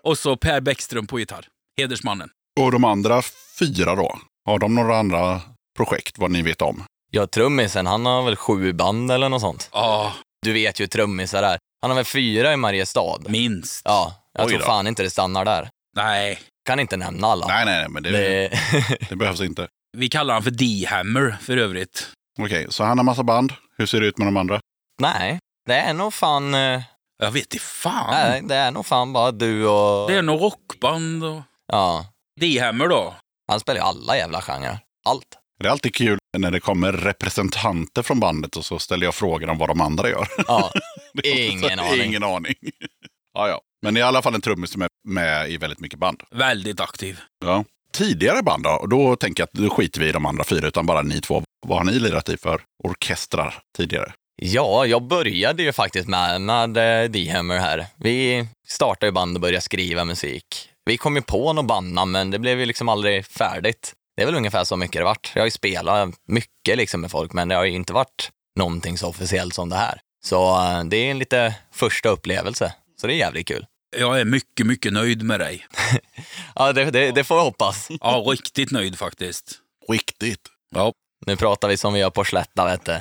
Speaker 1: Och så Per Bäckström på gitarr. Hedersmannen.
Speaker 2: Och de andra fyra då? Har de några andra projekt vad ni vet om?
Speaker 5: Ja, trummisen, han har väl sju band eller något sånt.
Speaker 1: Ja,
Speaker 5: Du vet ju trummisar där. Han har väl fyra i Mariestad.
Speaker 1: minst.
Speaker 5: Ja, jag
Speaker 2: Oj
Speaker 5: tror
Speaker 2: då.
Speaker 5: fan inte det stannar där.
Speaker 1: Nej,
Speaker 5: Kan inte nämna alla.
Speaker 2: Nej, nej, nej, men det, det...
Speaker 5: Det, (laughs)
Speaker 2: behövs inte.
Speaker 1: vi kallar han för D-Hammer för övrigt.
Speaker 2: Okej, så han har massa band. Hur ser det ut med de andra?
Speaker 5: nej, det är nog fan... eh,
Speaker 1: Jag vet inte fan.
Speaker 5: Nej, det är nog fan bara du och...
Speaker 1: Det är nog rockband och...
Speaker 5: Ja,
Speaker 1: D-Hammer då?
Speaker 5: han spelar ju alla jävla genrer. Allt.
Speaker 2: Det är alltid kul när det kommer representanter från bandet och så ställer jag frågor om vad de andra gör. (laughs)
Speaker 5: Ja,
Speaker 2: Det är också
Speaker 5: Ingen
Speaker 2: så-
Speaker 5: aning.
Speaker 2: Ingen aning. (laughs) ja, ja. Men det är i alla fall en trummis som är med i väldigt mycket band.
Speaker 1: Väldigt aktiv.
Speaker 2: Ja. Tidigare band då? Och då tänker jag att då skiter vi i de andra fyra, utan bara ni två. Vad har ni lirat i för orkestrar tidigare?
Speaker 5: ja, jag började ju faktiskt med, med eh, D-Hammer här. Vi startade ju band och började skriva musik. Vi kom ju på något bandnamn, men det blev ju liksom aldrig färdigt. Det är väl ungefär så mycket det vart. Jag har ju spelat mycket liksom med folk, men det har ju inte varit någonting så officiellt som det här. Så eh, det är en lite första upplevelse, så det är jävligt kul.
Speaker 1: Jag är mycket, mycket nöjd med dig.
Speaker 5: Ja, det, det, det får jag hoppas.
Speaker 1: (laughs) Ja, riktigt nöjd faktiskt.
Speaker 2: Riktigt.
Speaker 1: Ja.
Speaker 5: Nu pratar vi som vi gör på Slätta, vet du.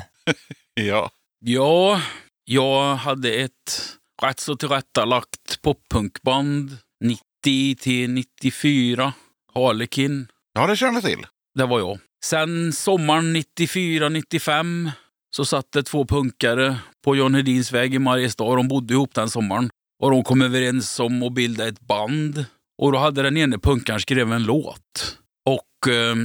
Speaker 2: Ja.
Speaker 1: Ja, jag hade ett rätt så tillrättalagt poppunkband 90 till 94. Harlekin,
Speaker 2: Ja, det känner jag till.
Speaker 1: det var jag. Sen sommaren 94-95 så satt det två punkare på John Hedins väg i Mariestad. De bodde ihop den sommaren. Och de kom överens om att bilda ett band. Och då hade den ene punkaren skrivit en låt. Och eh,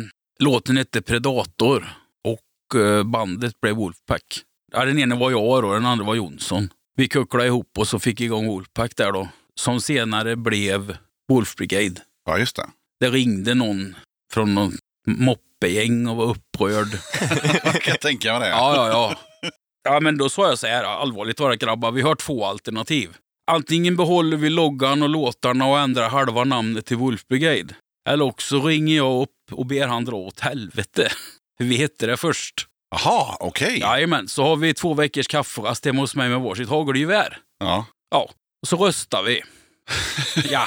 Speaker 1: låten hette Predator. Och eh, bandet blev Wolfpack. Ja, den ene var jag och den andra var Jonsson. Vi kucklade ihop och så fick igång Wolfpack där då. Som senare blev Wolf Brigade.
Speaker 2: Ja, just det. (laughs)
Speaker 1: Det ringde någon från någon moppegäng och var upprörd.
Speaker 2: Jag kan tänka mig det.
Speaker 1: Ja, ja, ja. Ja, men då sa jag så här, allvarligt talat grabbar, vi har två alternativ. Antingen behåller vi loggan och låtarna och ändrar halva namnet till Wolf Brigade. Eller också ringer jag upp och ber han dra åt helvete. (laughs) Vi hette det först.
Speaker 2: Jaha, okej.
Speaker 1: Jajamän, så har vi två veckors kafferast hemma hos mig med varsitt hagelgevär.
Speaker 2: Ja.
Speaker 1: Ja, och så röstar (laughs) vi. Ja,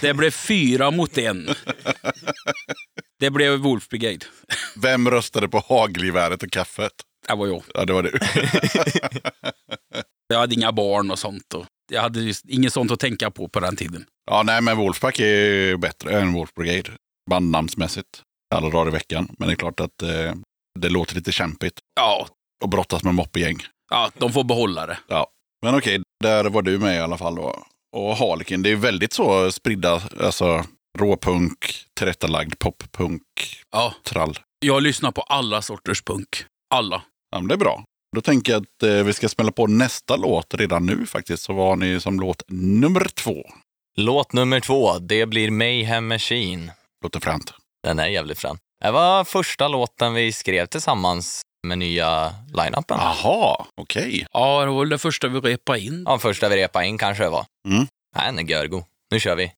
Speaker 1: det blev fyra mot en. Det blev Wolf Brigade.
Speaker 2: Vem röstade på hagelgeväret och kaffet?
Speaker 1: Det var jag.
Speaker 2: Ja, det var du.
Speaker 1: Jag hade inga barn och sånt. Och jag hade just inget sånt att tänka på på den tiden.
Speaker 2: ja, nej, men Wolfpack är ju bättre än Wolf Brigade. Bandnamnsmässigt. Alla dagar i veckan. Men det är klart att eh, det låter lite kämpigt
Speaker 1: Ja,
Speaker 2: att brottas med moppegäng.
Speaker 1: ja de får behålla det.
Speaker 2: Men okej, där var du med i alla fall då. Och Harlekin, det är väldigt så spridda, alltså råpunk, tillrättalagd poppunk,
Speaker 1: Ja,
Speaker 2: trall.
Speaker 1: jag lyssnar på alla sorters punk. Alla.
Speaker 2: Ja, men det är bra. Då tänker jag att eh, vi ska smälla på nästa låt redan nu faktiskt. Så vad har ni som låt nummer två?
Speaker 5: Låt nummer två, det blir Mayhem Machine.
Speaker 2: Låter fränt.
Speaker 5: Den är jävligt frän. Det var första låten vi skrev tillsammans med nya line-upen.
Speaker 2: Aha, okej.
Speaker 1: Ja, det var väl det första vi repade in.
Speaker 5: Ja, första vi repade in kanske det var.
Speaker 2: Mm.
Speaker 5: Nej, den är görgo. Nu kör vi.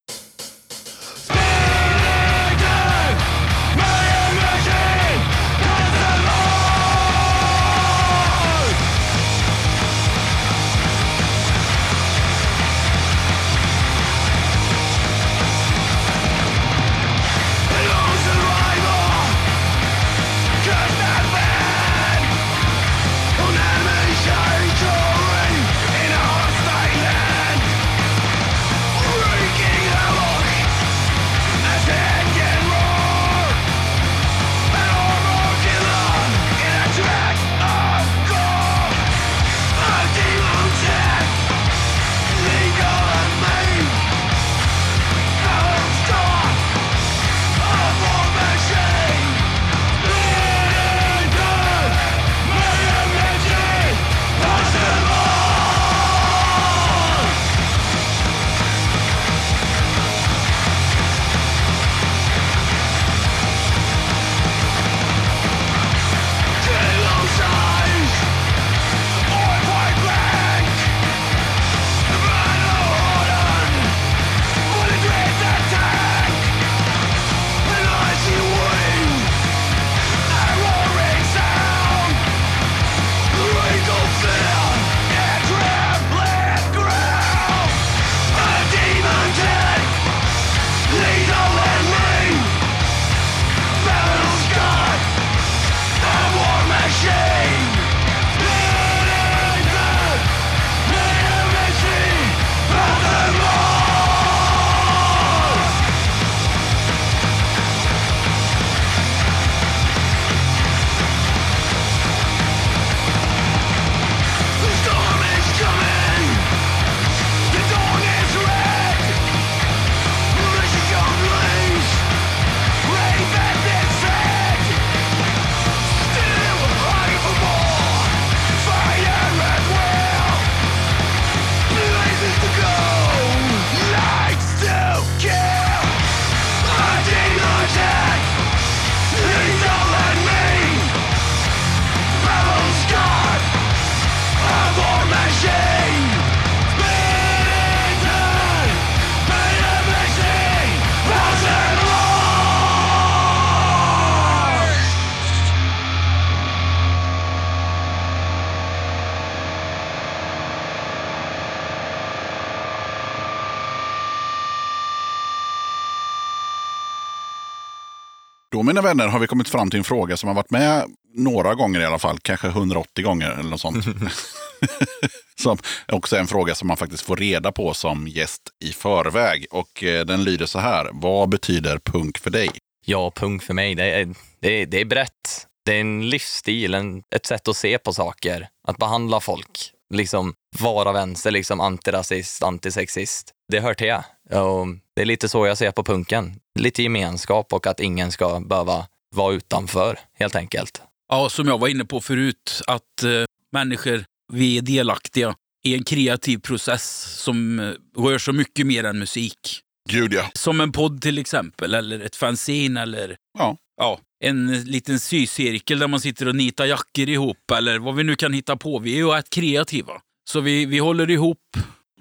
Speaker 3: Mayhem machine,
Speaker 2: Då mina vänner har vi kommit fram till en fråga som har varit med några gånger i alla fall, kanske 180 gånger eller något sånt. som också är en fråga som man faktiskt får reda på som gäst i förväg. Och eh, den lyder så här, vad betyder punk för dig?
Speaker 5: Ja, punk för mig, det är, det är, det är brett. Det är en livsstil, en, ett sätt att se på saker, att behandla folk. Liksom vara vänster, liksom antirasist, antisexist. Det hör till. Och det är lite så jag ser på punken. Lite gemenskap och att ingen ska behöva vara utanför, helt enkelt.
Speaker 1: Ja, som jag var inne på förut, att eh, människor, vi är delaktiga i en kreativ process som eh, rör så mycket mer än musik.
Speaker 2: Gud ja.
Speaker 1: Som en podd till exempel, eller ett fanzine, eller
Speaker 2: Ja.
Speaker 1: ja, en liten sycirkel där man sitter och nitar jackor ihop, eller vad vi nu kan hitta på. Vi är ju rätt kreativa. Så vi, vi håller ihop,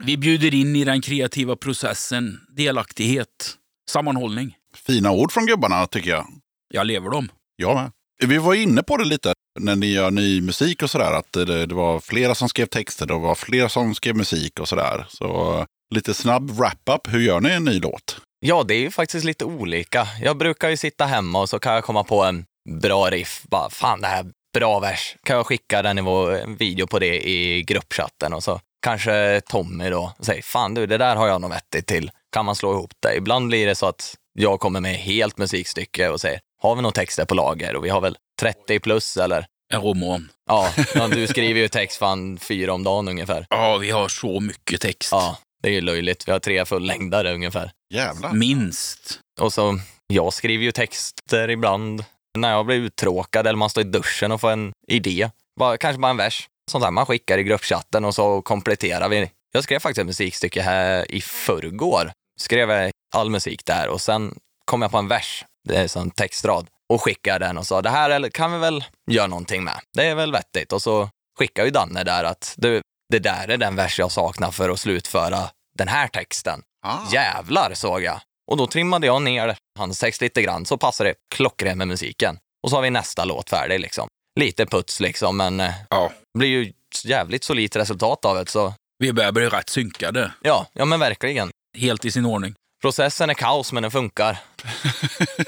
Speaker 1: vi bjuder in i den kreativa processen, delaktighet, sammanhållning.
Speaker 2: Fina ord från gubbarna tycker jag.
Speaker 1: Jag lever dem.
Speaker 2: Jag med. Vi var inne på det lite när ni gör ny musik och sådär. Att det, det var flera som skrev texter, det var flera som skrev musik och sådär. Så eh, lite snabb wrap-up. Hur gör ni en ny låt?
Speaker 5: Ja, det är ju faktiskt lite olika. Jag brukar ju sitta hemma och så kan jag komma på en bra riff. Bara, fan, det här är bra vers. Kan jag skicka den i vår, en video på det i gruppchatten och så kanske Tommy då säger, fan du, det där har jag något vettigt till. Kan man slå ihop det? Ibland blir det så att jag kommer med helt musikstycke och säger, har vi några texter på lager? Och vi har väl 30 plus eller?
Speaker 1: En roman.
Speaker 5: Ja, men du skriver ju text fan fyra om dagen ungefär.
Speaker 1: Ja, vi har så mycket text.
Speaker 5: Ja, det är ju löjligt. Vi har tre fullängdare ungefär.
Speaker 2: Jävlar.
Speaker 1: Minst.
Speaker 5: Och så, jag skriver ju texter ibland när jag blir uttråkad eller man står i duschen och får en idé. Bara, kanske bara en vers. Sånt där man skickar i gruppchatten och så kompletterar vi. Jag skrev faktiskt ett musikstycke här i förrgår. Skrev jag all musik där och sen kom jag på en vers, det är som textrad, och skickade den och sa det här eller- kan vi väl göra någonting med. Det är väl vettigt. Och så skickar ju Danne där att du, det där är den vers jag saknar för att slutföra den här texten.
Speaker 2: Ah.
Speaker 5: Jävlar, såg jag. Och då trimmade jag ner hans text lite grann, så passade det klockrent med musiken. Och så har vi nästa låt färdig liksom. Lite puts liksom, men eh,
Speaker 1: Ja.
Speaker 5: det blir ju jävligt solitt resultat av det. Så
Speaker 1: Vi börjar bli rätt synkade.
Speaker 5: ja, ja men verkligen.
Speaker 1: Helt i sin ordning.
Speaker 5: Processen är kaos, men den funkar.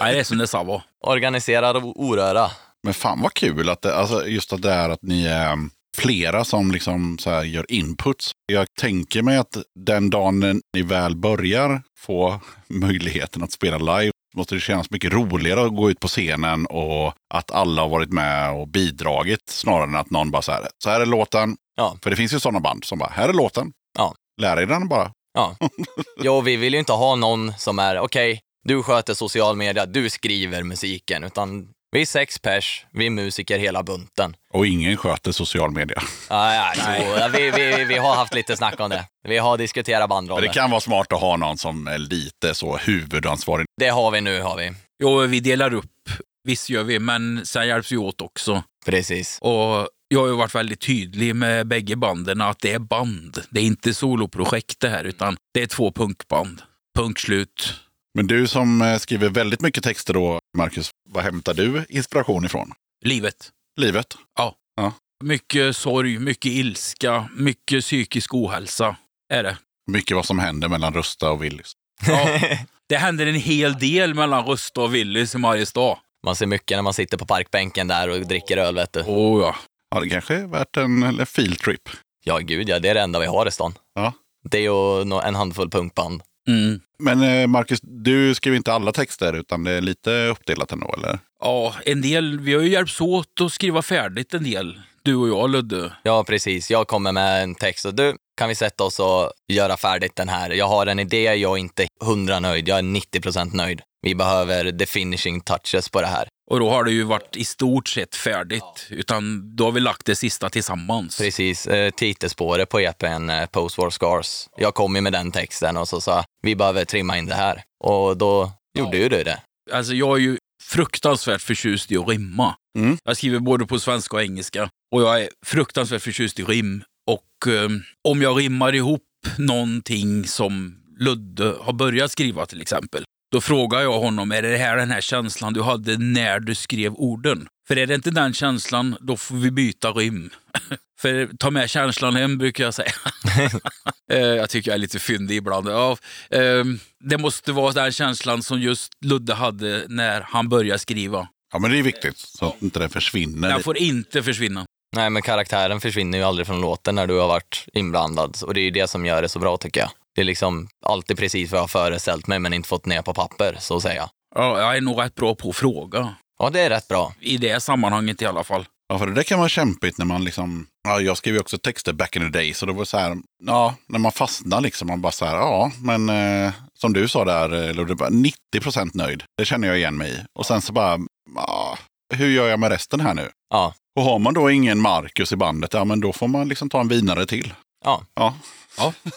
Speaker 1: Nej, det är som det sa var.
Speaker 5: Organiserad och oröra.
Speaker 2: Men fan vad kul att det, alltså just att det är att ni är flera som liksom så här gör inputs. Jag tänker mig att den dagen när ni väl börjar få möjligheten att spela live måste det kännas mycket roligare att gå ut på scenen och att alla har varit med och bidragit snarare än att någon bara så här, så här är låten.
Speaker 5: Ja.
Speaker 2: För det finns ju sådana band som bara, här är låten.
Speaker 5: Ja.
Speaker 2: Lär er den bara.
Speaker 5: Ja. Jo, vi vill ju inte ha någon som är, okej, du sköter social media, du skriver musiken, utan vi är sex pers, vi är musiker hela bunten.
Speaker 2: Och ingen sköter social media.
Speaker 5: Ja, ja, så, vi, vi, vi har haft lite snack om det. Vi har diskuterat
Speaker 2: Men
Speaker 5: bandroller.
Speaker 2: det
Speaker 5: Det,
Speaker 2: kan vara smart att ha någon som är lite så huvudansvarig.
Speaker 5: har vi nu, har vi.
Speaker 1: Jo, vi delar upp. Visst gör vi, men sen hjälps vi åt också.
Speaker 5: Precis.
Speaker 1: Och jag har ju varit väldigt tydlig med bägge banden att det är band. Det är inte soloprojekt det här, utan det är två punkband. Punkt slut.
Speaker 2: Men du som eh, skriver väldigt mycket texter då, Marcus, vad hämtar du inspiration ifrån?
Speaker 1: Livet.
Speaker 2: Livet?
Speaker 1: Mycket sorg, mycket ilska, mycket psykisk ohälsa är det.
Speaker 2: Mycket vad som händer mellan Rusta och Willys.
Speaker 1: Ja, det händer en hel del mellan Rusta och Willys i Mariestad.
Speaker 5: Man ser mycket när man sitter på parkbänken där och dricker öl, vet du.
Speaker 1: Oh, ja.
Speaker 2: Ja, det kanske är värt en eller field trip.
Speaker 5: Ja, gud ja, det är det enda vi har i stan.
Speaker 2: Ja.
Speaker 5: Det och nå- en handfull punkband.
Speaker 1: Mm.
Speaker 2: Men eh, Marcus, du skriver inte alla texter utan det är lite uppdelat ändå, eller?
Speaker 1: Ja, en del. Vi har ju hjälpts åt att skriva färdigt en del. Du och jag, Ludde.
Speaker 5: Ja, precis. Jag kommer med en text och du, kan vi sätta oss och göra färdigt den här? Jag har en idé, jag är inte 100 nöjd, jag är 90 procent nöjd. Vi behöver the finishing touches på det här.
Speaker 1: Och då har det ju varit i stort sett färdigt. Utan då har vi lagt det sista tillsammans.
Speaker 5: Precis, eh, titelspåret på EPn eh, Post War Scars. Jag kom ju med den texten och så sa jag, vi behöver trimma in det här. Och då gjorde ju du det.
Speaker 1: Alltså jag är ju fruktansvärt förtjust i att rimma.
Speaker 2: Mm.
Speaker 1: Jag skriver både på svenska och engelska. Och jag är fruktansvärt förtjust i rim. Och eh, om jag rimmar ihop någonting som Ludde har börjat skriva till exempel, Då frågar jag honom, är det här den här känslan du hade när du skrev orden? För är det inte den känslan, då får vi byta rim. (laughs) För ta med känslan hem brukar jag säga. Eh, jag tycker jag är lite fyndig ibland. Ja, ehm, det måste vara den känslan som just Ludde hade när han började skriva.
Speaker 2: Ja, men det är viktigt så att inte det försvinner.
Speaker 1: Den får inte försvinna.
Speaker 5: Nej, men karaktären försvinner ju aldrig från låten när du har varit inblandad. Och det är ju det som gör det så bra tycker jag. Det är liksom alltid precis vad jag har föreställt mig men inte fått ner på papper, så att säga.
Speaker 1: Ja, jag är nog rätt bra på att fråga.
Speaker 5: Ja, det är rätt bra.
Speaker 1: I det sammanhanget i alla fall.
Speaker 2: Ja, för det där kan vara kämpigt när man liksom... Ja, jag skrev ju också texter back in the day, så det var så här... Ja, när man fastnar liksom, man bara så här, ja, men eh, som du sa där, eh, Ludde, bara 90 procent nöjd. Det känner jag igen mig i. Och sen så bara, ja, hur gör jag med resten här nu?
Speaker 5: Ja.
Speaker 2: Och har man då ingen Marcus i bandet, ja men då får man liksom ta en vinare till.
Speaker 5: Ja.
Speaker 2: Ja,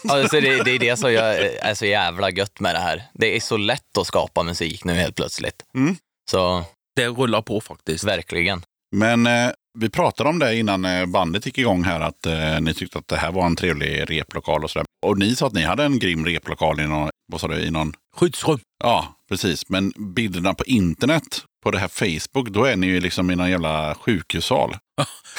Speaker 5: Alltså, det, det är det som jag är så jävla gött med det här. Det är så lätt att skapa musik nu helt plötsligt.
Speaker 2: Mm.
Speaker 5: Så
Speaker 1: Det rullar på faktiskt.
Speaker 5: verkligen.
Speaker 2: Men eh, vi pratade om det innan eh, bandet gick igång här, att eh, ni tyckte att det här var en trevlig replokal och sådär. Och ni sa att ni hade en grym replokal i någon, vad sa du, i någon,
Speaker 1: Skyddsrum.
Speaker 2: ja precis, men bilderna på internet, på det här Facebook, då är ni ju liksom i någon jävla sjukhussal.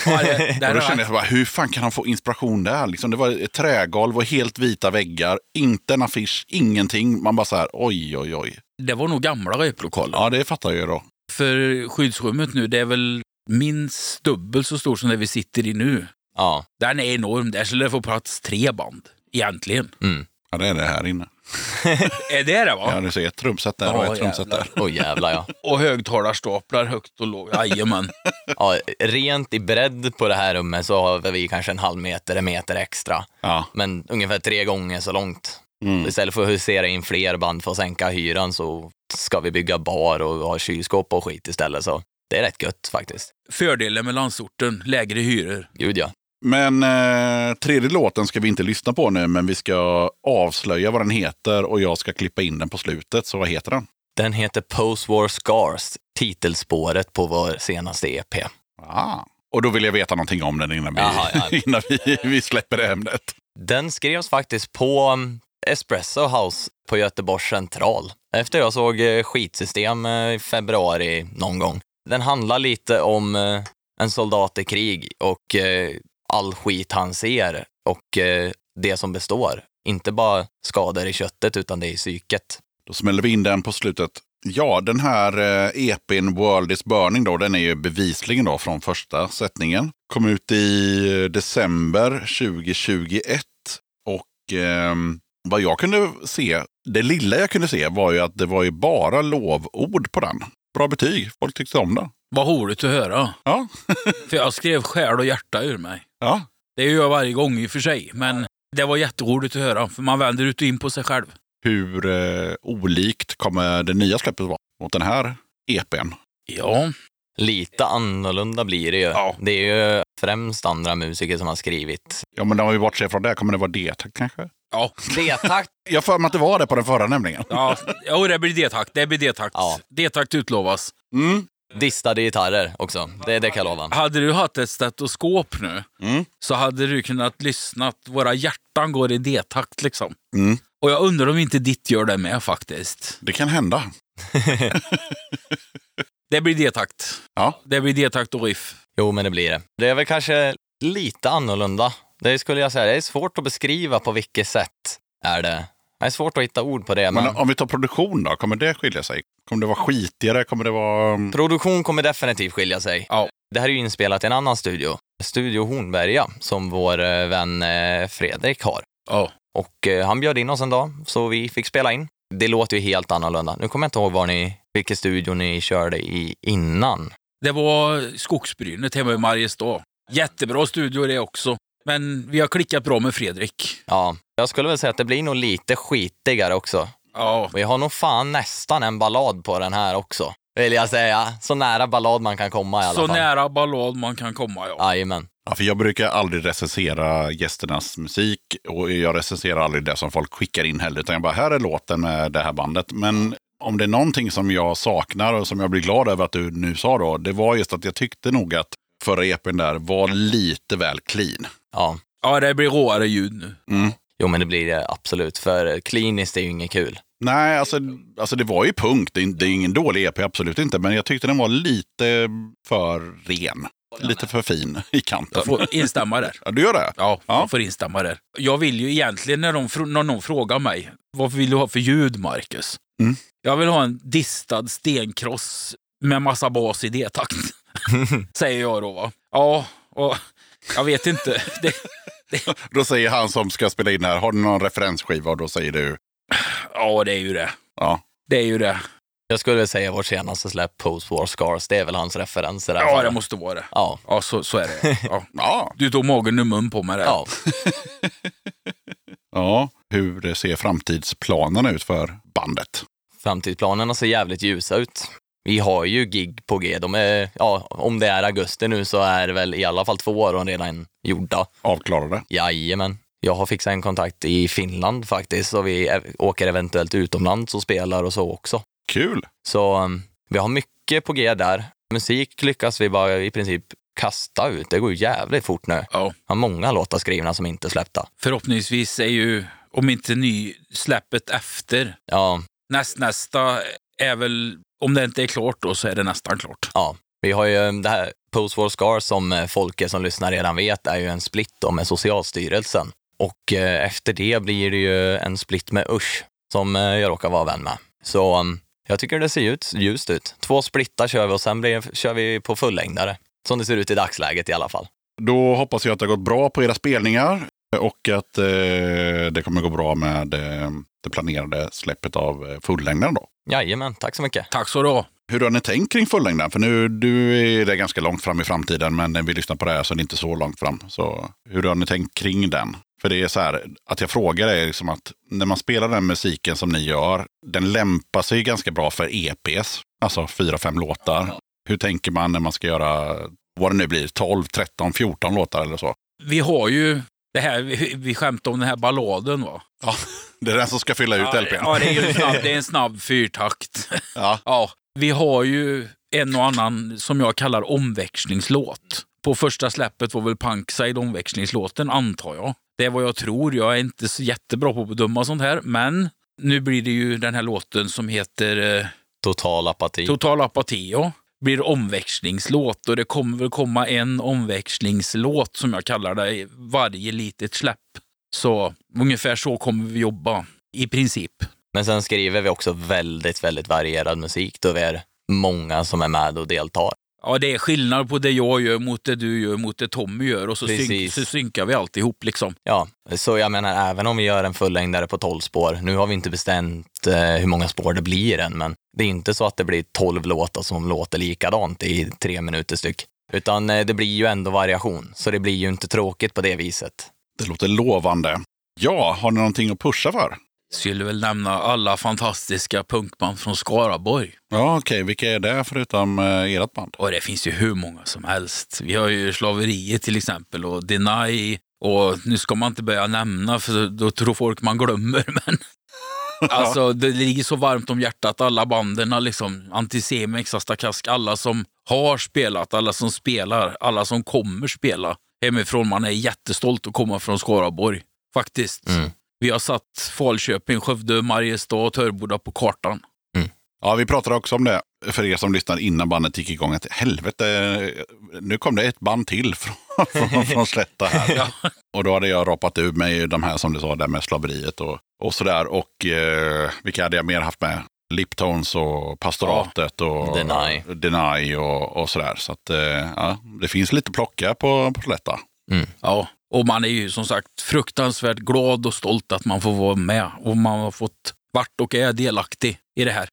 Speaker 1: Ja, det,
Speaker 2: Och
Speaker 1: där
Speaker 2: då
Speaker 1: har
Speaker 2: kände
Speaker 1: jag-
Speaker 2: jag bara, hur fan kan han få inspiration där? Liksom, det var ett trägolv och helt vita väggar, inte en affisch, ingenting. Man bara så här, oj, oj, oj.
Speaker 1: det var nog gamla replokaler.
Speaker 2: Ja, det fattar jag ju då.
Speaker 1: För skyddsrummet nu, det är väl minst dubbelt så stort som det vi sitter i nu.
Speaker 5: Ja.
Speaker 1: Den är enorm. Där skulle det få plats tre band, egentligen.
Speaker 2: Ja, det är det här inne.
Speaker 1: Är det det,
Speaker 2: Ja,
Speaker 1: va?
Speaker 2: du ser ett trumset där och
Speaker 1: Ja,
Speaker 2: ett trumset
Speaker 1: jävlar.
Speaker 2: där.
Speaker 5: Åh jävlar ja.
Speaker 1: Och högtalarstaplar högt och lågt. Jajamän.
Speaker 5: ja. Rent i bredd på det här rummet så har vi kanske en halv meter, en meter extra.
Speaker 2: Ja.
Speaker 5: Men ungefär tre gånger så långt.
Speaker 2: Mm.
Speaker 5: Istället för att husera in fler band för att sänka hyran så ska vi bygga bar och ha kylskåp och skit istället. Så det är rätt gött faktiskt.
Speaker 1: Fördelen med landsorten, lägre hyror.
Speaker 5: Gud ja.
Speaker 2: Men eh, tredje låten ska vi inte lyssna på nu, men vi ska avslöja vad den heter och jag ska klippa in den på slutet. Så vad heter den?
Speaker 5: Den heter Post War Scars, titelspåret på vår senaste E EP.
Speaker 2: Ah. Och då vill jag veta någonting om den innan vi,
Speaker 5: Jaha, ja.
Speaker 2: (laughs) innan vi, vi släpper ämnet.
Speaker 5: Den skrevs faktiskt på um, Espresso House på Göteborgs central. Efter jag såg eh, skitsystem eh, i februari någon gång. Den handlar lite om eh, en soldat i krig och eh, all skit han ser och eh, det som består. Inte bara skador i köttet utan det är i psyket.
Speaker 2: Då smäller vi in den på slutet. Ja, den här eh, EPn World is Burning då, den är ju bevisligen då från första sättningen. Kom ut i eh, december 2021 och ehm, vad jag kunde se, det lilla jag kunde se var ju att det var ju bara lovord på den. Bra betyg, folk tyckte om den.
Speaker 1: Vad roligt att höra.
Speaker 2: Ja,
Speaker 1: (laughs) För jag skrev själ och hjärta ur mig.
Speaker 2: ja.
Speaker 1: Det gör jag varje gång i och för sig, men det var jätteroligt att höra. För man vänder ut och in på sig själv.
Speaker 2: Hur eh, olikt kommer det nya släppet vara mot den här E EPn?
Speaker 1: Ja,
Speaker 5: Lite annorlunda blir det ju.
Speaker 2: Ja.
Speaker 5: Det är ju främst andra musiker som har skrivit.
Speaker 2: Ja, men om vi bortser från det, kommer det vara det kanske?
Speaker 1: ja,
Speaker 5: Det tack!
Speaker 2: Jag har för mig att det var det på den förra nämligen.
Speaker 1: ja. Jo, det blir D-takt. Det blir D-takt.
Speaker 5: Ja.
Speaker 1: D-takt utlovas.
Speaker 2: Mm.
Speaker 5: (laughs) Distade gitarrer också. Det, det kan jag lova.
Speaker 1: Hade du haft ett stetoskop nu
Speaker 2: Mm.
Speaker 1: så hade du kunnat lyssna. att Våra hjärtan går i D-takt liksom.
Speaker 2: Mm.
Speaker 1: Och jag undrar om inte ditt gör det med faktiskt.
Speaker 2: Det kan hända.
Speaker 1: Det blir D-takt.
Speaker 2: Ja.
Speaker 1: Det blir D-takt och riff.
Speaker 5: Jo, men det blir det. Det är väl kanske lite annorlunda. Det skulle jag säga. Det är svårt att beskriva på vilket sätt är det. Det är svårt att hitta ord på det, men,
Speaker 2: Men om vi tar produktion då, kommer det skilja sig? Kommer det vara skitigare? Kommer det vara... mm,
Speaker 5: produktion kommer definitivt skilja sig.
Speaker 1: Ja.
Speaker 5: Det här är ju inspelat i en annan studio, Studio Hornberga, som vår eh, vän eh, Fredrik har.
Speaker 1: Ja.
Speaker 5: Och eh, han bjöd in oss en dag, så vi fick spela in. Det låter ju helt annorlunda. Nu kommer jag inte ihåg var ni, vilken studio ni körde i innan.
Speaker 1: Det var Skogsbrynet hemma i Mariestad. Jättebra studio det också. Men vi har klickat bra med Fredrik.
Speaker 5: Ja, jag skulle väl säga att det blir nog lite skitigare också.
Speaker 1: Ja,
Speaker 5: Och jag har nog fan nästan en ballad på den här också, vill jag säga. Så nära ballad man kan komma i alla
Speaker 1: så
Speaker 5: fall.
Speaker 1: nära ballad man kan komma. Ja.
Speaker 5: Jajamän.
Speaker 2: Ja, för jag brukar aldrig recensera gästernas musik och jag recenserar aldrig det som folk skickar in heller. Utan jag bara, här är låten med det här bandet. Men om det är någonting som jag saknar och som jag blir glad över att du nu sa då, det var just att jag tyckte nog att förra EPn där var lite väl clean.
Speaker 5: Ja.
Speaker 1: ja, det blir råare ljud nu.
Speaker 5: Jo, men det blir det absolut, för kliniskt är ju inget kul.
Speaker 2: Nej, alltså, alltså det var ju punkt. Det är, det är ingen dålig EP, absolut inte. Men jag tyckte den var lite för ren. Lite för fin i kanten.
Speaker 1: Jag får instämma där.
Speaker 2: Ja, du gör det?
Speaker 1: Ja,
Speaker 2: Ja.
Speaker 1: jag får instämma där. Jag vill ju egentligen när, de, fr- när någon frågar mig, vad vill du ha för ljud, Marcus?
Speaker 2: Mm.
Speaker 1: Jag vill ha en distad stenkross med massa bas i
Speaker 2: (laughs)
Speaker 1: D-takt, (laughs) säger jag då. Va? Ja, och jag vet inte. (laughs) Det,
Speaker 2: Då säger han som ska spela in här, har du någon referensskiva? Och då säger du,
Speaker 1: ja, det är ju det.
Speaker 2: ja.
Speaker 1: Det är ju det.
Speaker 5: Jag skulle väl säga vårt senaste släpp, Post War Scars, det är väl hans referenser där.
Speaker 1: Ja, det måste vara det.
Speaker 5: Ja,
Speaker 1: Ja, så, så är det. Ja.
Speaker 2: Ja.
Speaker 1: Du tog magen ur mun på mig där.
Speaker 5: ja.
Speaker 2: ja. Hur ser framtidsplanerna ut för bandet?
Speaker 5: Framtidsplanerna ser jävligt ljusa ut. Vi har ju gig på G. De är, ja, om det är augusti nu så är det väl i alla fall två av dem redan gjorda.
Speaker 2: Avklarade?
Speaker 5: Jajamän. Jag har fixat en kontakt i Finland faktiskt, så vi ev- åker eventuellt utomlands och spelar och så också.
Speaker 2: Kul!
Speaker 5: Så um, vi har mycket på G där. Musik lyckas vi bara i princip kasta ut. Det går ju jävligt fort nu.
Speaker 1: Ja.
Speaker 5: Har många låtar skrivna som inte är släppta.
Speaker 1: Förhoppningsvis är ju, om inte ny, släppet efter.
Speaker 5: Ja,
Speaker 1: Näst, nästa är väl, om det inte är klart då, så är det nästan klart.
Speaker 5: ja. Vi har ju um, det här Post War Scars som eh, folket som lyssnar redan vet är ju en split då med Socialstyrelsen. Och eh, efter det blir det ju en split med Usch som eh, jag råkar vara vän med. Så um, jag tycker det ser ut, ljust ut. Två splittar kör vi och sen blir, kör vi på fullängdare. Som det ser ut i dagsläget i alla fall.
Speaker 2: Då hoppas jag att det har gått bra på era spelningar och att eh, det kommer gå bra med eh, det planerade släppet av eh, fullängden då.
Speaker 5: Jajamän, tack så mycket.
Speaker 1: Tack så du ha.
Speaker 2: Hur har ni tänkt kring fullängden? För nu du är det ganska långt fram i framtiden, men när vi lyssnar på det här så är det inte så långt fram. Så hur har ni tänkt kring den? För det är så här, att jag frågar är liksom att när man spelar den musiken som ni gör, den lämpar sig ganska bra för EPs, alltså fyra, fem låtar. Hur tänker man när man ska göra, vad det nu blir, 12, 13, 14 låtar eller så?
Speaker 1: Vi har ju det här, vi, vi skämtade om den här balladen va?
Speaker 2: Ja, det är den som ska fylla ut
Speaker 1: ja,
Speaker 2: LPn.
Speaker 1: ja, det är ju en snabb, det är en snabb fyrtakt.
Speaker 2: Ja.
Speaker 1: (laughs) Ja, vi har ju en och annan som jag kallar omväxlingslåt. På första släppet var väl Punkside omväxlingslåten, antar jag. Det är vad jag tror. Jag är inte så jättebra på att bedöma sånt här, men nu blir det ju den här låten som heter eh,
Speaker 5: Total apati.
Speaker 1: Total apati, ja. Blir omväxlingslåt och det kommer väl komma en omväxlingslåt som jag kallar det i varje litet släpp. Så ungefär så kommer vi jobba, i princip.
Speaker 5: Men sen skriver vi också väldigt, väldigt varierad musik då vi är många som är med och deltar.
Speaker 1: Ja, det är skillnad på det jag gör mot det du gör mot det Tommy gör och så, synk,
Speaker 5: Precis.
Speaker 1: så synkar vi alltihop liksom.
Speaker 5: Ja, så jag menar, även om vi gör en fullängdare på 12 spår, nu har vi inte bestämt eh, hur många spår det blir än, men det är inte så att det blir 12 låtar som låter likadant i tre minuter styck, utan eh, det blir ju ändå variation, så det blir ju inte tråkigt på det viset.
Speaker 2: (laughs) Det låter lovande. Ja, har ni någonting att pusha för?
Speaker 1: Skulle väl nämna alla fantastiska punkband från Skaraborg.
Speaker 2: Ja, okej. Vilka är det förutom eh, ert band?
Speaker 1: Och det finns ju hur många som helst. Vi har ju Slaveriet till exempel och Deny. Och nu ska man inte börja nämna för då tror folk man glömmer. (laughs) Men alltså det ligger så varmt om hjärtat alla banden, liksom. Antisemex, Astakask, alla som har spelat, alla som spelar, alla som kommer spela hemifrån. Man är jättestolt att komma från Skaraborg, faktiskt.
Speaker 5: Mm.
Speaker 1: Vi har satt Falköping, Skövde, Mariestad och Törboda på kartan.
Speaker 2: Ja, vi pratade också om det för er som lyssnar innan bandet gick igång. Att helvete, nu kom det ett band till (laughs) från, från, från Slätta här.
Speaker 1: Ja.
Speaker 2: Och då hade jag rapat ur mig de här som du sa, där med slaveriet och, och sådär. Och eh, vilka hade jag mer haft med? Liptones och Pastoratet och
Speaker 5: Deny.
Speaker 2: Deny och, och sådär. Så att, eh, ja, det finns lite plocka på, på Slätta.
Speaker 1: Ja, och man är ju som sagt fruktansvärt glad och stolt att man får vara med och man har fått vart och är delaktig i det här.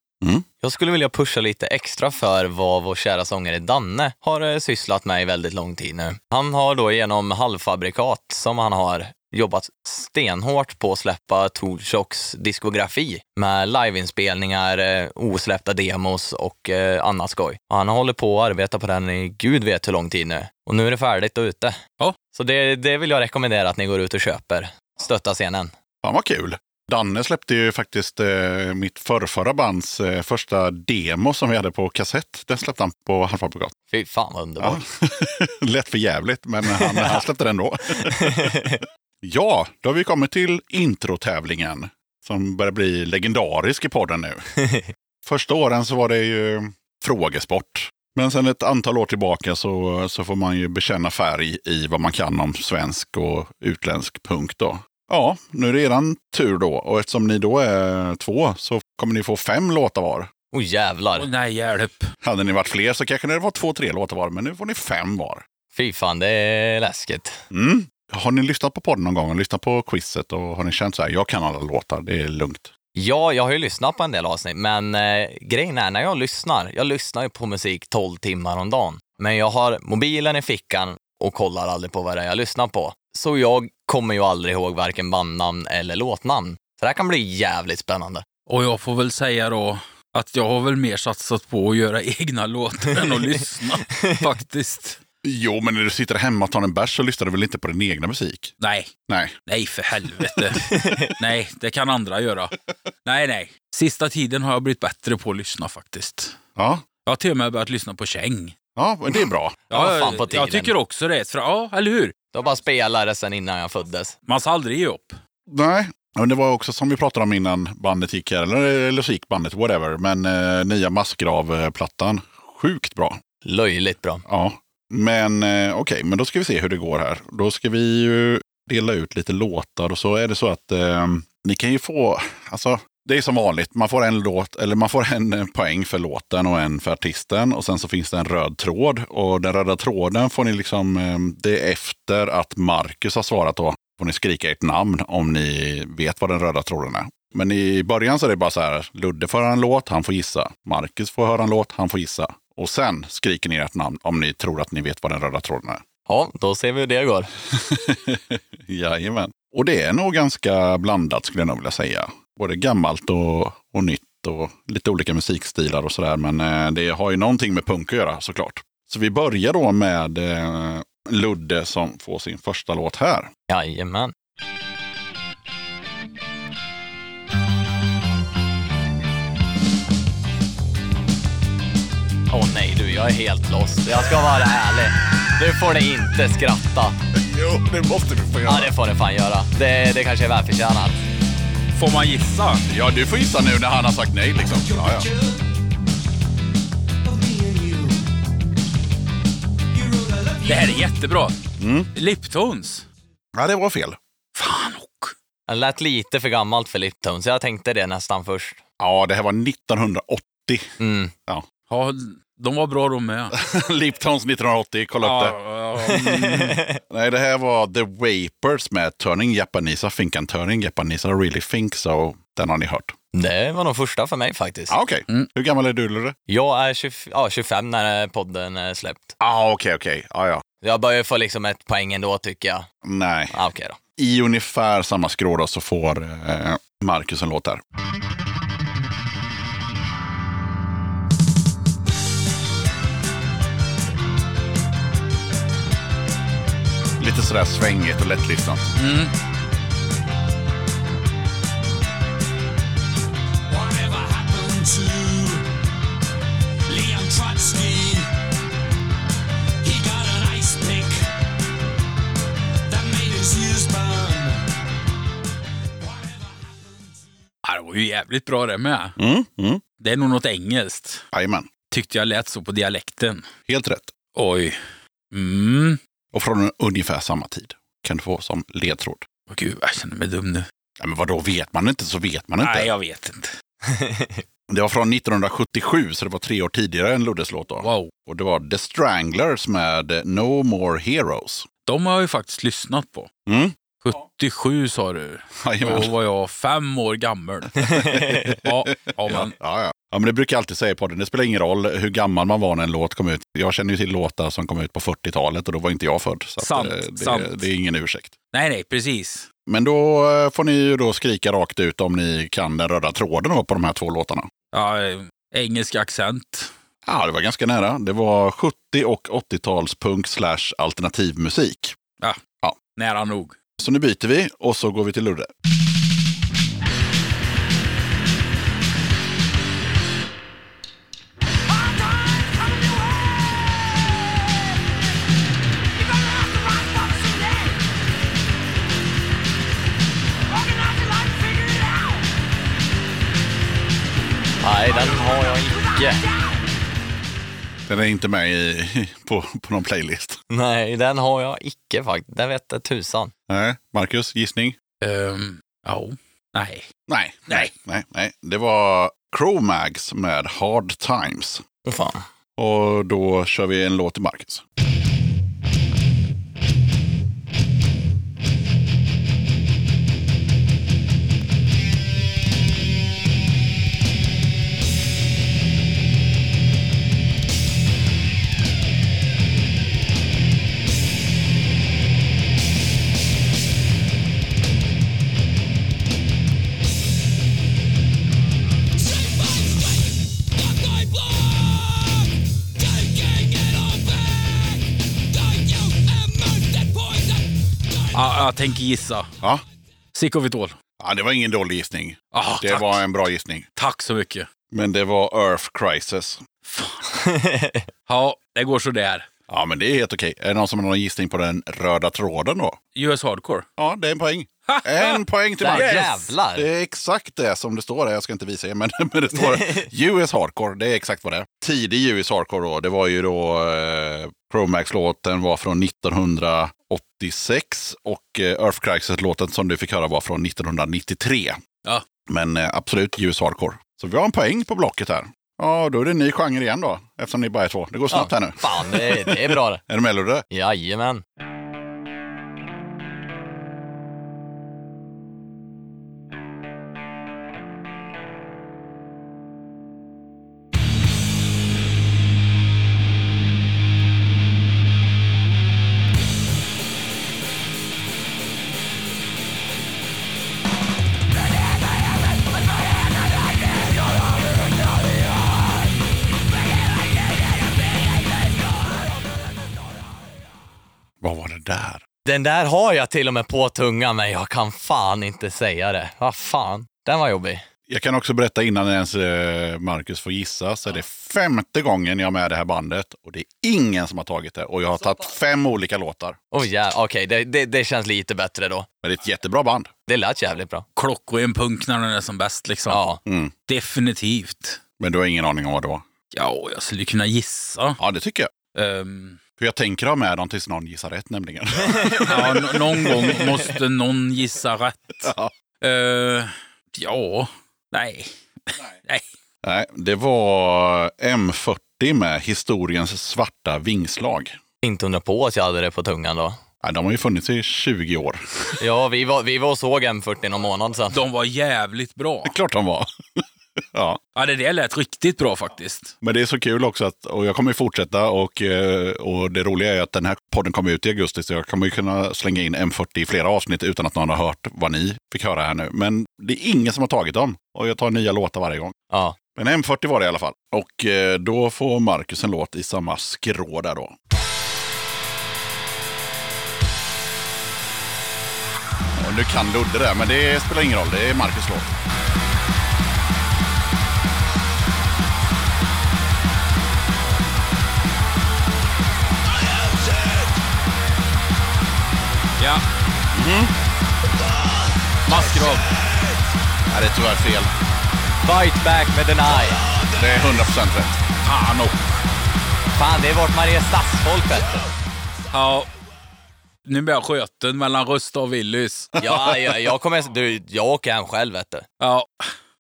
Speaker 5: Jag skulle vilja pusha lite extra för vad vår kära sångare Danne har eh, sysslat med i väldigt lång tid nu. Han har då genom halvfabrikat som han har jobbat stenhårt på att släppa Torshocks diskografi med liveinspelningar, eh, osläppta demos och eh, annat skoj. Och han håller på att arbeta på den i gud vet hur lång tid nu. Och nu är det färdigt och ute.
Speaker 1: Ja.
Speaker 5: Så det, det vill jag rekommendera att ni går ut och köper. Stötta scenen.
Speaker 2: Fan vad kul. Danne släppte ju faktiskt eh, mitt förrförra bands eh, första demo som vi hade på kassett. Den släppte han på halvfabrikat. (laughs)
Speaker 5: Fy fan vad underbart.
Speaker 2: Lätt för jävligt, men han, han släppte den då. Ja, då har vi kommit till introtävlingen som börjar bli legendarisk i podden nu. Första åren så var det ju frågesport. Men sen ett antal år tillbaka så, så får man ju bekänna färg i vad man kan om svensk och utländsk punk då. Ja, nu är det eran tur då och eftersom ni då är två så kommer ni få fem låtar var.
Speaker 5: (laughs) Oh
Speaker 1: Åh,
Speaker 5: jävlar.
Speaker 1: nej, hjälp.
Speaker 2: Hade ni varit fler så kanske det var två, tre låtar var, men nu får ni fem var.
Speaker 5: Fy fan, det är läskigt.
Speaker 2: Mm. Har ni lyssnat på podden någon gång? Lyssnat på quizet och har ni känt så här, jag kan alla låtar, det är lugnt.
Speaker 5: Ja, jag har ju lyssnat på en del avsnitt, men eh, grejen är när jag lyssnar, jag lyssnar ju på musik 12 timmar om dagen, men jag har mobilen i fickan och kollar aldrig på vad det är jag lyssnar på. Så jag kommer ju aldrig ihåg varken bandnamn eller låtnamn. Så det här kan bli jävligt spännande.
Speaker 1: Och jag får väl säga då att jag har väl mer satsat på att göra egna låtar än att
Speaker 5: (laughs)
Speaker 1: lyssna faktiskt.
Speaker 2: Jo, men när du sitter hemma och tar en bärs så lyssnar du väl inte på din egna musik?
Speaker 1: Nej,
Speaker 2: Nej.
Speaker 1: nej för
Speaker 5: (laughs)
Speaker 1: helvete. nej, det kan andra göra. Nej, nej. Sista tiden har jag blivit bättre på att lyssna faktiskt.
Speaker 2: Ja,
Speaker 1: Jag har till och med börjat lyssna på käng.
Speaker 2: ja men det är bra.
Speaker 5: Ja, fan på tiden.
Speaker 1: jag tycker också det. För, ja, eller hur?
Speaker 5: Det var bara spelare sen innan jag föddes.
Speaker 1: Man ska aldrig ge upp.
Speaker 2: (laughs) Nej, men det var också som vi pratade om innan bandet gick här, eller, eller så gick bandet, whatever. Men eh, nya Massgrav-plattan, sjukt bra.
Speaker 5: Löjligt bra.
Speaker 2: Ja, men eh, okej, men då ska vi se hur det går här. Då ska vi ju dela ut lite låtar och så är det så att eh, ni kan ju få, alltså det är som vanligt, man får en låt, eller man får en eh, poäng för låten och en för artisten och sen så finns det en röd tråd och den röda tråden får ni liksom, eh, det är efter att Marcus har svarat då, får ni skrika ert namn om ni vet vad den röda tråden är. Men i början så är det bara så här, Ludde får höra en låt, han får gissa. Marcus får höra en låt, han får gissa. Och sen skriker ni ert namn om ni tror att ni vet vad den röda tråden är. (laughs)
Speaker 5: Ja, då ser vi hur det går.
Speaker 2: Jajamän. Och det är nog ganska blandat skulle jag nog vilja säga. Både gammalt och, och nytt och lite olika musikstilar och sådär. Men eh, det har ju någonting med punk att göra såklart. Så vi börjar då med eh, Ludde som får sin första låt här.
Speaker 5: Jajamän. Åh nej du, jag är helt lost. Jag ska vara ärlig. Nu får ni inte skratta.
Speaker 2: Jo, det måste du få
Speaker 5: Ja, det får ni fan göra. Det, det kanske är välförtjänat.
Speaker 1: Får man gissa?
Speaker 2: Ja, du får gissa nu när han har sagt nej liksom. Ja, ja.
Speaker 1: Det här är jättebra. Liptons.
Speaker 2: ja det var fel.
Speaker 1: Fan och.
Speaker 5: Det lät lite för gammalt för Lipton, så jag tänkte det nästan först.
Speaker 2: Ja, det här var 1980.
Speaker 5: Mm.
Speaker 1: Ja, de var bra de med.
Speaker 2: (laughs) Liptons 1980, kolla upp det.
Speaker 1: Mm.
Speaker 2: Nej, det här var The Vapors med Turning Japanese, I think I'm turning Japanese, I really think so. Den har ni hört.
Speaker 5: Det var nog första för mig faktiskt.
Speaker 2: Ah, okej.
Speaker 1: Mm.
Speaker 2: Hur gammal är du, Lurre?
Speaker 5: Jag är 20, ja, 25 när podden är släppt.
Speaker 2: Ah, okej, okej. Ah, ja.
Speaker 5: Jag börjar få liksom ett poäng ändå tycker jag.
Speaker 2: Nej.
Speaker 5: Ah, Okej då.
Speaker 2: I ungefär samma skrå då så får eh, Marcus en låt där. Lite sådär svängigt och lättlyssnat.
Speaker 3: Whatever happened to Leon Trotsky? He got an ice pick that made his ears burn. Whatever happened to
Speaker 1: Ja, det var ju jävligt bra det med.
Speaker 2: Mm, mm.
Speaker 1: Det är nog något engelskt.
Speaker 2: Jajamän,
Speaker 1: Tyckte jag lät så på dialekten.
Speaker 2: helt rätt.
Speaker 1: Oj. Mm.
Speaker 2: Och från ungefär samma tid kan du få som ledtråd.
Speaker 1: Åh, gud, jag känner mig dum nu.
Speaker 2: Ja, men vadå, vet man inte så vet man inte.
Speaker 1: Nej, jag vet inte.
Speaker 2: Det var från 1977, så det var tre år tidigare än Luddes låt. Då.
Speaker 1: Wow.
Speaker 2: Och det var The Stranglers med No More Heroes.
Speaker 1: De har jag ju faktiskt lyssnat på.
Speaker 2: Mm.
Speaker 1: 77 sa du. Då
Speaker 2: Jajamän.
Speaker 1: var jag fem år gammal. ja, ja, men.
Speaker 2: Ja, ja. ja, men det brukar jag alltid säga på podden. Det spelar ingen roll hur gammal man var när en låt kom ut. Jag känner ju till låtar som kom ut på 40-talet och då var inte jag född. Så att,
Speaker 1: Sant,
Speaker 2: eh, det,
Speaker 1: sant.
Speaker 2: det är ingen ursäkt.
Speaker 1: Nej, nej, precis.
Speaker 2: Men då eh, får ni ju då skrika rakt ut om ni kan den röda tråden då på de här två låtarna.
Speaker 1: Ja, eh, engelsk accent.
Speaker 2: Ja, det var ganska nära. Det var 70 och 80-talspunk slash alternativmusik.
Speaker 1: Nära nog.
Speaker 2: Så nu byter vi och så går vi till Ludde.
Speaker 6: If I lost the right one today,
Speaker 5: Nej, den har jag inte.
Speaker 2: Den är inte med i, på, på någon playlist.
Speaker 5: Nej, den har jag icke faktiskt. Den vet jag tusan.
Speaker 2: Nej, Marcus, gissning?
Speaker 1: Ehm, ja. Nej.
Speaker 2: Nej.
Speaker 1: Nej.
Speaker 2: Nej, nej. Det var Chromags med Hard Times.
Speaker 5: Åh (laughs) fan.
Speaker 2: Och då kör vi en låt till Marcus.
Speaker 1: Ja, jag tänker gissa.
Speaker 2: Ja.
Speaker 1: Zico Vitol.
Speaker 2: ja, det var ingen dålig gissning.
Speaker 1: Ah,
Speaker 2: Det
Speaker 1: tack.
Speaker 2: var en bra gissning.
Speaker 1: tack så mycket.
Speaker 2: Men det var Earth Crisis.
Speaker 1: Ja, det går sådär.
Speaker 2: Ja, men det är helt okej. Är det någon som har någon gissning på den röda tråden då?
Speaker 1: US Hardcore. Eh.
Speaker 2: Ja, det är en poäng. En poäng till
Speaker 5: Där
Speaker 2: Marcus.
Speaker 5: jävlar.
Speaker 2: Det är exakt det som det står där. Jag ska inte visa er, men, (laughs) men det står US Hardcore. Det är exakt vad det är. Tidig US Hardcore då. Det var ju då eh, Chromax-låten var från 1986 och eh, Earth Crisis-låten som du fick höra var från 1993.
Speaker 1: Ja.
Speaker 2: Men eh, absolut US Hardcore. Så vi har en poäng på blocket här. Ja, då är det en ny genre igen då, eftersom ni bara är två. Det går snabbt här nu.
Speaker 5: Fan, det är, det är bra det.
Speaker 2: Är du med Ludde?
Speaker 5: Jajamän.
Speaker 2: Vad var det där?
Speaker 5: Den där har jag till och med på tungan, men jag kan fan inte säga det. Vad fan. Den var jobbig.
Speaker 2: Jag kan också berätta innan ens eh, Marcus får gissa, så är det femte gången jag är med i det här bandet och det är ingen som har tagit det. Och jag har tagit fem olika låtar.
Speaker 5: Oh, ja, Okej, det, det, det känns lite bättre då.
Speaker 2: Men det är ett jättebra band.
Speaker 5: Det lät jävligt bra.
Speaker 1: Klockren punk när den är som bäst liksom.
Speaker 5: Ja.
Speaker 2: Mm.
Speaker 1: Definitivt.
Speaker 2: Men du har ingen aning om vad det var?
Speaker 1: Ja, jag skulle kunna gissa.
Speaker 2: Ja, det tycker jag.
Speaker 1: Ehm,
Speaker 2: För jag tänker ha med dem tills någon gissar rätt nämligen. (laughs)
Speaker 1: ja, n- någon gång måste någon gissa rätt.
Speaker 2: Ja.
Speaker 1: Ehm, ja, nej. Nej.
Speaker 2: Nej, det var M40 med Historiens svarta vingslag.
Speaker 5: Inte undra på att jag hade det på tungan då.
Speaker 2: Ja, de har ju funnits i 20 år.
Speaker 5: Ja, vi var, vi var och såg M40 någon månad sedan.
Speaker 1: De var jävligt bra.
Speaker 2: Klart de var. ja.
Speaker 1: Ja, det där lät riktigt bra faktiskt.
Speaker 2: Men det är så kul också att, och jag kommer ju fortsätta och, eh, och det roliga är att den här podden kommer ut i augusti så jag kommer ju kunna slänga in M40 i flera avsnitt utan att någon har hört vad ni fick höra här nu. Men det är ingen som har tagit dem och jag tar nya låtar varje gång.
Speaker 5: Ja.
Speaker 2: Men M40 var det i alla fall. Och eh, då får Marcus en låt i samma skrå där då. Och nu kan Ludde det, men det spelar ingen roll. Det är Marcus låt.
Speaker 1: Ja. Maskrav.
Speaker 2: Nej, det är tyvärr fel.
Speaker 5: Fight back med Deny.
Speaker 2: Det är 100% rätt.
Speaker 1: Fan också.
Speaker 5: Fan, det är vårt Mariestadsfolk bättre.
Speaker 1: Ja. Nu blir jag sköten mellan Rösta och Willys.
Speaker 5: Ja, jag, jag kommer... Du, jag åker hem själv vet du.
Speaker 1: Ja.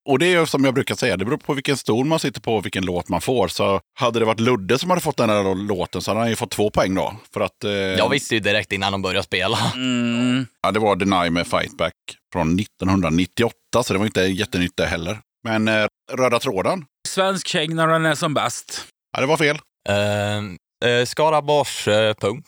Speaker 2: Och det är ju som jag brukar säga, det beror på vilken stol man sitter på och vilken låt man får. Så hade det varit Ludde som hade fått den här låten så hade han ju fått två poäng då. För att eh,
Speaker 5: Jag visste ju direkt innan de började spela.
Speaker 1: Mm.
Speaker 2: ja, det var Deny med Fightback från 1998, så det var inte jättenytt det heller. Men eh, Röda tråden,
Speaker 1: Svensk käng när den är som bäst.
Speaker 2: ja det var fel.
Speaker 5: Ehm, eh, Skaraborgs eh, punk.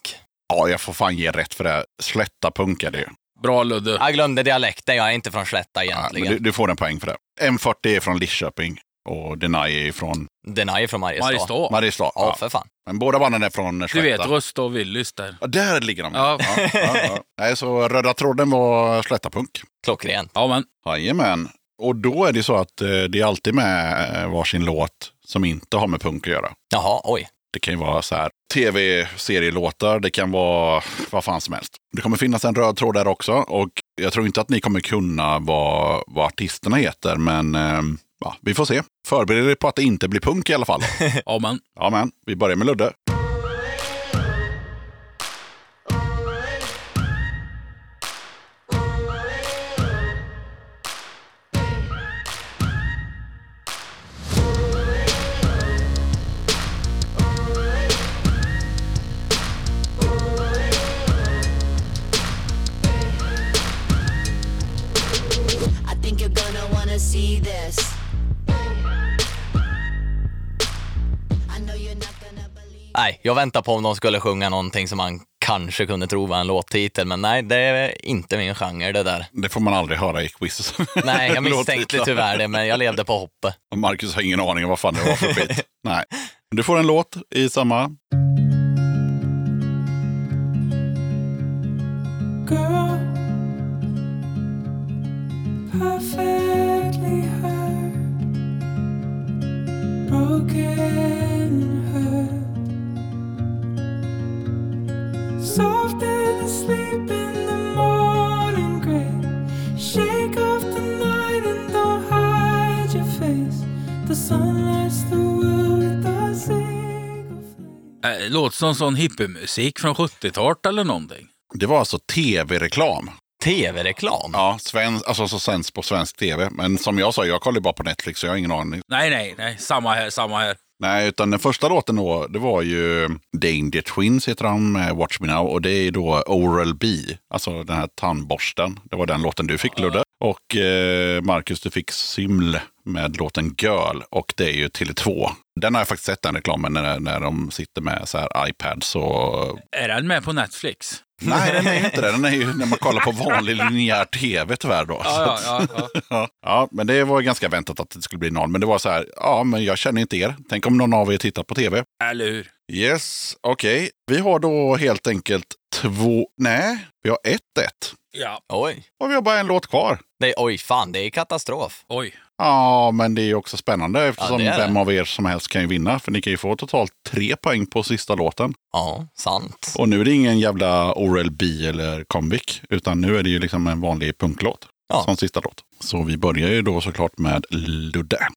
Speaker 2: Ja, jag får fan ge rätt för det. här. Slätta punk är det ju.
Speaker 1: Bra Ludde.
Speaker 5: Jag glömde dialekten, jag är inte från Slätta
Speaker 2: Ja, men
Speaker 5: egentligen.
Speaker 2: du, du får en poäng för det. M40 är från Lidköping och Deny är från
Speaker 5: Deny är från Mariestad.
Speaker 1: Mariestad.
Speaker 2: Mariestad.
Speaker 5: Ja,
Speaker 2: Ja,
Speaker 5: för fan.
Speaker 2: men båda banden är från
Speaker 1: Du vet
Speaker 2: Slätta.
Speaker 1: Rösta och Willys där.
Speaker 2: Ja, där ligger de.
Speaker 1: Ja.
Speaker 2: Ja, ja, ja. Nej, så Röda tråden var Slätta punk.
Speaker 5: Klockrent.
Speaker 1: Ja, men
Speaker 2: Jajamän. Och då är det så att eh, det är alltid med eh, varsin låt som inte har med punk att göra.
Speaker 5: Jaha, oj.
Speaker 2: Det kan ju vara så här tv-serielåtar, det kan vara vad fan som helst. Det kommer finnas en röd tråd där också och jag tror inte att ni kommer kunna vad, vad artisterna heter men eh, Ja, vi får se. Förbered dig på att det inte blir punk i alla
Speaker 5: (laughs)
Speaker 2: fall.
Speaker 1: Ja, men
Speaker 2: Ja, men vi börjar med Ludde.
Speaker 6: I think you're gonna wanna see this. I know you're not gonna believe.
Speaker 5: Nej, jag väntar på om de skulle sjunga någonting som man kanske kunde tro var en låttitel, men nej, det är inte min genre det där.
Speaker 2: Det får man aldrig höra i quiz.
Speaker 5: (laughs) Nej,
Speaker 2: (laughs)
Speaker 5: jag misstänkte
Speaker 2: Låttitlar.
Speaker 5: tyvärr det, men jag levde på hoppet.
Speaker 2: Och Marcus har ingen aning om vad fan det var för skit. Nej. Du får en låt i samma.
Speaker 7: girl perfectly hurt broken hurt soft and asleep in the morning gray shake off the night and don't hide your face the sun lights the world with a single flame
Speaker 1: äh, låter som sån hippiemusik från 70-talet eller någonting.
Speaker 2: Det var alltså tv-reklam.
Speaker 5: TV-reklam?
Speaker 2: Ja, svensk, alltså som sänds på svensk tv. Men som jag sa, jag kollar ju bara på Netflix så jag har ingen aning.
Speaker 1: Nej, nej, nej. Samma här, samma här.
Speaker 2: Nej, utan den första låten då, det var ju Danger Twins heter han med Watch Me Now. Och det är då Oral B, alltså den här tandborsten. Det var den låten du fick Ludde. Och eh, Marcus, du fick Syml med låten Girl. Och det är ju Tele2. Den har jag faktiskt sett den reklamen när, när de sitter med så här
Speaker 1: (laughs)
Speaker 2: iPads och
Speaker 1: Är den med på Netflix?
Speaker 2: Nej, den är ju inte det. Den är ju när man kollar på vanlig linjär tv tyvärr då. Så
Speaker 1: Ja,
Speaker 2: att-
Speaker 1: ja, ja, ja.
Speaker 2: ja. ja, men det var ganska väntat att det skulle bli noll. Men det var så här, ja, men jag känner inte er. Tänk om någon av er tittar på tv.
Speaker 1: Eller hur?
Speaker 2: Yes, okej. Vi har då helt enkelt två, nej, vi har ett ett.
Speaker 1: Ja,
Speaker 5: Oj.
Speaker 2: Och vi har bara en låt kvar.
Speaker 5: Det är, oj, fan, det är katastrof.
Speaker 1: oj.
Speaker 2: Ja, men det är ju också spännande eftersom
Speaker 5: det är det.
Speaker 2: vem av er som helst kan ju vinna. För ni kan ju få totalt tre poäng på sista låten.
Speaker 5: Ja, sant.
Speaker 2: Och nu är det ingen jävla Oral B eller Comviq, utan nu är det ju liksom en vanlig punklåt
Speaker 5: Ja.
Speaker 2: som sista låt. Så vi börjar ju då såklart med Ludde.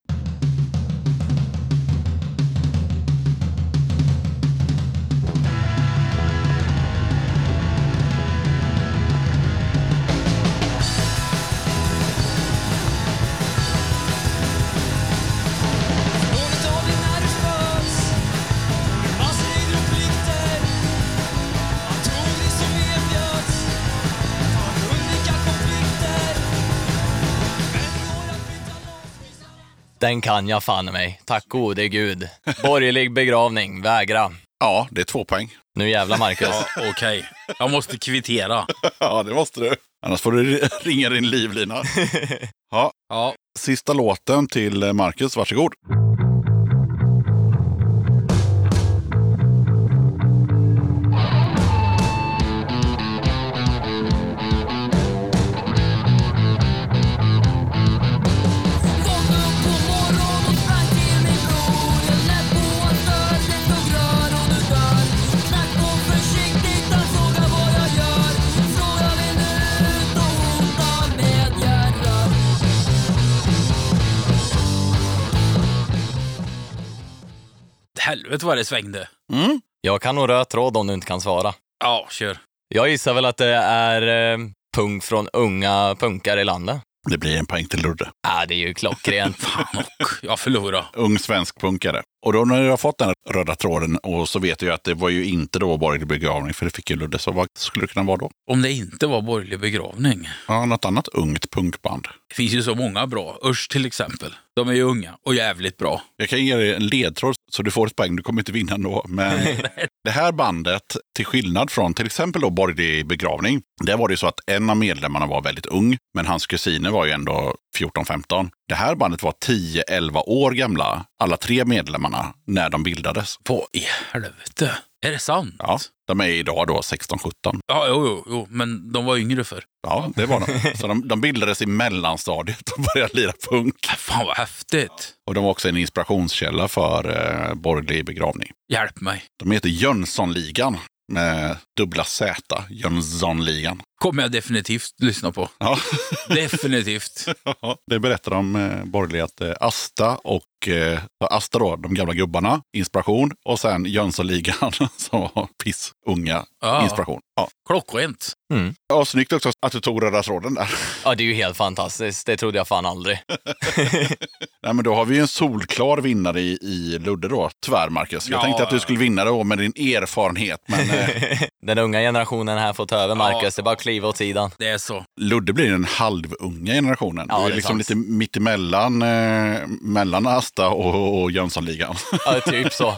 Speaker 5: Den kan jag fan i mig. Tack gode gud. Borgerlig begravning, vägra.
Speaker 2: Ja, det är två poäng.
Speaker 5: Nu jävlar Marcus.
Speaker 1: Ja, Okej, jag måste kvittera.
Speaker 2: (laughs) Ja, det måste du. Annars får du (laughs) ringa din livlina. ja.
Speaker 1: Ja.
Speaker 2: Sista låten till eh, Marcus, varsågod.
Speaker 8: Vakna upp på morgon och sprang till min bror Jag lät boan dör, lätt och grön och du dör Knack på försiktigt, han frågar vad jag gör Frågan rinner ut och hon tar med järnrör
Speaker 1: Helvete vad det svängde.
Speaker 5: Jag kan nog röra tråd om du inte kan svara.
Speaker 1: Ja, kör.
Speaker 5: Jag gissar väl att det är eh, punk från unga punkare i landet.
Speaker 2: Det blir en poäng till Ludde.
Speaker 5: Ja, det är ju klockrent.
Speaker 1: Fan och jag förlorade.
Speaker 2: Ung svensk punkare. Och då när du har fått den här röda tråden och så vet du ju att det var ju inte då borgerlig begravning, för det fick ju Ludde. Så vad skulle det kunna vara då?
Speaker 1: Om det inte var borgerlig begravning.
Speaker 2: Ja, något annat ungt punkband.
Speaker 1: Det finns ju så många bra. Usch till exempel. De är ju unga och jävligt bra.
Speaker 2: Jag kan ge dig en ledtråd så du får ett poäng. Du kommer inte vinna ändå. Men det här bandet, till skillnad från till exempel då Borgerlig begravning, där var det ju så att en av medlemmarna var väldigt ung, men hans kusiner var ju ändå 14-15. Det här bandet var 10-11 år gamla, alla tre medlemmarna, när de bildades.
Speaker 1: Vad i helvete? Är det sant?
Speaker 2: Ja, de är idag då 16-17.
Speaker 1: Ja, jo, jo, jo, men de var yngre för.
Speaker 2: Ja, det var de. Så de, de bildades i mellanstadiet och började lira punk.
Speaker 1: Äh, Fan vad häftigt.
Speaker 2: Och de var också en inspirationskälla för eh, Borgerlig begravning.
Speaker 1: Hjälp mig.
Speaker 2: De heter Jönssonligan. med dubbla Z, Jönssonligan.
Speaker 1: kommer jag definitivt lyssna på.
Speaker 2: Ja.
Speaker 1: (laughs) Definitivt.
Speaker 2: Ja, det berättar de eh, borgerliga att eh, Asta och eh, Asta då, de gamla gubbarna, inspiration. Och sen Jönssonligan (laughs) som var pissunga,
Speaker 1: Ja,
Speaker 2: inspiration. Ja.
Speaker 1: klockrent.
Speaker 2: ja, snyggt också att du tog röda tråden där. (laughs)
Speaker 5: Ja, det är ju helt fantastiskt. Det trodde jag fan aldrig.
Speaker 2: Nej, men då har vi ju en solklar vinnare i, i Ludde då, tyvärr Marcus. Jag
Speaker 1: Ja.
Speaker 2: tänkte att du skulle vinna då med din erfarenhet,
Speaker 5: (laughs)
Speaker 2: men eh,
Speaker 5: Den unga generationen här får ta över, Marcus.
Speaker 1: Ja.
Speaker 5: Det är bara att kliva åt sidan.
Speaker 1: Det är så.
Speaker 2: Ludde blir den halvunga generationen.
Speaker 5: Ja,
Speaker 2: du är,
Speaker 5: det är
Speaker 2: liksom
Speaker 5: sant.
Speaker 2: lite mittemellan eh, mellan Asta och, och Jönssonligan.
Speaker 5: Ja, typ så.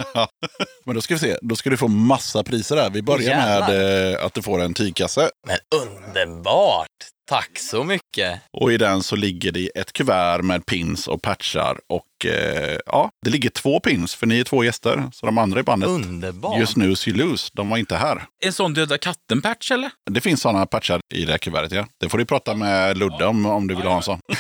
Speaker 2: Men då ska vi se, då ska du få massa priser här. Vi börjar
Speaker 5: Jävlar.
Speaker 2: med eh, att du får en tygkasse.
Speaker 5: Men underbart! Tack så mycket!
Speaker 2: Och i den så ligger det ett kuvert med pins och patchar. Och eh, ja, det ligger två pins, för ni är två gäster. Så de andra i bandet,
Speaker 5: Underbart!
Speaker 2: just nu see loose, de var inte här.
Speaker 1: En sån Döda katten-patch eller?
Speaker 2: Det finns sådana patchar i det här kuvertet, ja. Det får du prata med Ludde om, om du vill ha en sån. Om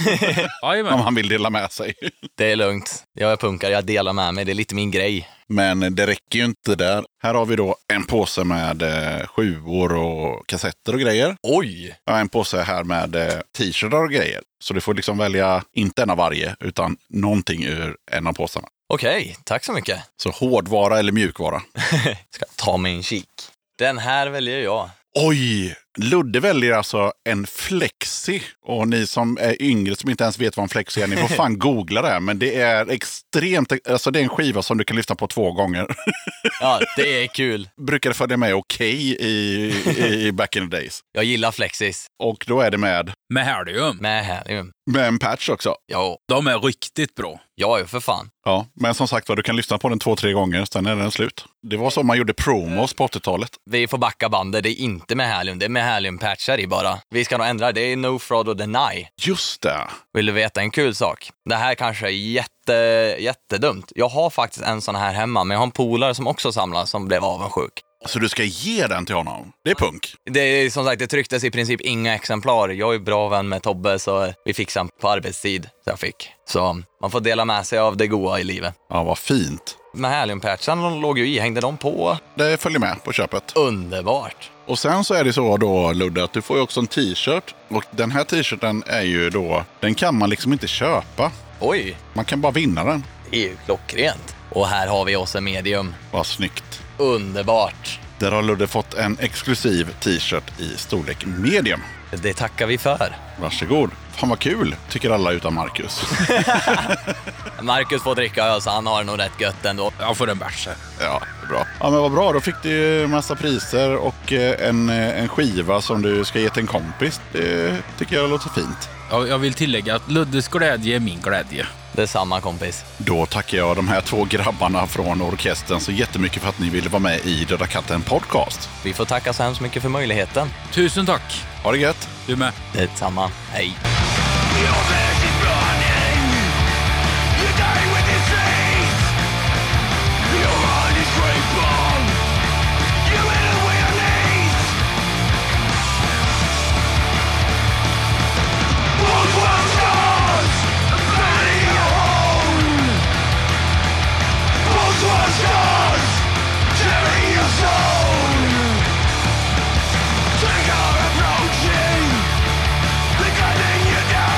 Speaker 1: Jajamän.
Speaker 2: han vill dela med sig.
Speaker 5: Det är lugnt. Jag är punkare, jag delar med mig. Det är lite min grej.
Speaker 2: Men det räcker ju inte där. Här har vi då en påse med eh, sjuor och kassetter och grejer.
Speaker 5: Oj!
Speaker 2: Jag har en påse här med eh, t-shirtar och grejer. Så du får liksom välja, inte en av varje, utan någonting ur en av påsarna.
Speaker 5: Okej, tack så mycket.
Speaker 2: Så hårdvara eller mjukvara.
Speaker 5: Ska jag ta mig en kik? Den här väljer jag.
Speaker 2: Oj! Ludde väljer alltså en flexi. Och ni som är yngre som inte ens vet vad en flexi är, ni får fan googla det. här. Men det är extremt, alltså det är en skiva som du kan lyssna på två gånger. (laughs)
Speaker 5: Ja, det är kul.
Speaker 2: Brukade följa med Okej i, i, i back in the days.
Speaker 5: Jag gillar Flexis.
Speaker 2: Och då är det med,
Speaker 1: Med Helium.
Speaker 5: Med helium.
Speaker 2: med en patch också.
Speaker 5: Ja,
Speaker 1: De är riktigt bra.
Speaker 5: jag är för fan.
Speaker 2: Ja, men som sagt var, du kan lyssna på den två, tre gånger, sen är den slut. Det var så man gjorde promos på 80-talet.
Speaker 5: Vi får backa bandet. Det är inte med helium. Det är med heliumpatchar i bara. Vi ska nog ändra. Det är no fraud och deny.
Speaker 2: Just det!
Speaker 5: Vill du veta en kul sak? Det här kanske är jätte, jättedumt. Jag har faktiskt en sån här hemma, men jag har en polare som också samlar som blev avundsjuk.
Speaker 2: Så du ska ge den till honom? Det är punk.
Speaker 5: Det är som sagt, det trycktes i princip inga exemplar. Jag är bra vän med Tobbe, så vi fick den på arbetstid. Så jag fick. Så man får dela med sig av det goa i livet.
Speaker 2: Ja, vad fint.
Speaker 5: Men heliumpatcharna låg ju i. Hängde de på?
Speaker 2: Det följer med på köpet.
Speaker 5: Underbart!
Speaker 2: Och sen så är det så då, Ludde, att du får ju också en t-shirt. Och den här t-shirten är ju då, den kan man liksom inte köpa.
Speaker 5: Oj,
Speaker 2: Man kan bara vinna den.
Speaker 5: det är ju klockrent. Och här har vi oss en medium.
Speaker 2: Vad snyggt.
Speaker 5: Underbart!
Speaker 2: Där har Ludde fått en exklusiv t-shirt i storlek medium.
Speaker 5: Det tackar vi för.
Speaker 2: Varsågod. Fan vad kul, tycker alla utan Marcus.
Speaker 5: Marcus får dricka öl, så han har det nog rätt gött ändå.
Speaker 1: Jag får en bärs här.
Speaker 2: Ja, det är bra. Ja, men vad bra. Då fick du ju massa priser och eh, en, eh, en skiva som du ska ge till en kompis. Det tycker jag låter fint.
Speaker 1: Jag, jag vill tillägga att Luddes glädje är min glädje.
Speaker 5: Detsamma kompis.
Speaker 2: Då tackar jag de här två grabbarna från orkestern så jättemycket för att ni ville vara med i Döda katten podcast.
Speaker 5: Vi får tacka så hemskt mycket för möjligheten.
Speaker 1: Tusen tack.
Speaker 2: Ha det gött!
Speaker 1: Du med.
Speaker 5: Detsamma. Hej.
Speaker 3: Your best is running. You die with disease. Your heart is rainbow. You in a wilderness. World war scars. Bury your own. World war scars. Bury your soul. Take our approaching. They're cutting you down.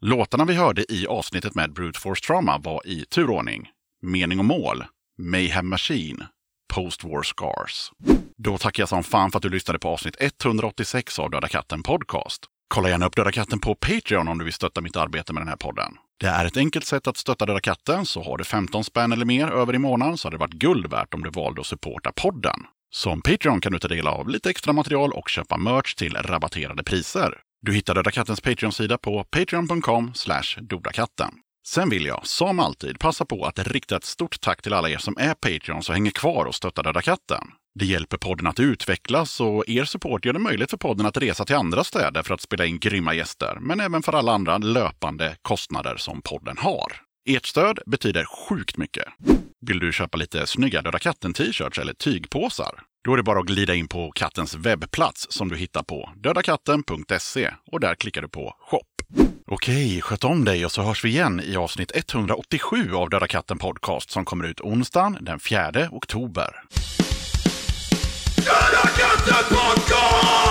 Speaker 2: Låtarna vi hörde i avsnittet med Brute Force Trauma var i turordning Mening och mål, Mayhem Machine, Post War Scars. Då tackar jag som fan för att du lyssnade på avsnitt 186 av Döda katten Podcast. Kolla gärna upp Döda katten på Patreon om du vill stötta mitt arbete med den här podden. Det är ett enkelt sätt att stötta Döda katten, så har du 15 spänn eller mer över i månaden så hade det varit guld värt om du valde att supporta podden. Som Patreon kan du ta del av lite extra material och köpa merch till rabatterade priser. Du hittar Döda Kattens Patreon-sida på patreon.com dodakatten. Sen vill jag, som alltid, passa på att rikta ett stort tack till alla er som är Patreons och hänger kvar och stöttar Döda katten. Det hjälper podden att utvecklas och er support gör det möjligt för podden att resa till andra städer för att spela in grymma gäster, men även för alla andra löpande kostnader som podden har. Ert stöd betyder sjukt mycket. Vill du köpa lite snygga Döda katten-t-shirts eller tygpåsar? Då är det bara att glida in på kattens webbplats som du hittar på dödakatten.se och där klickar du på shop. Okej, sköt om dig och så hörs vi igen i avsnitt 187 av Döda katten podcast som kommer ut onsdagen den 4 oktober.
Speaker 3: Döda katten podcast!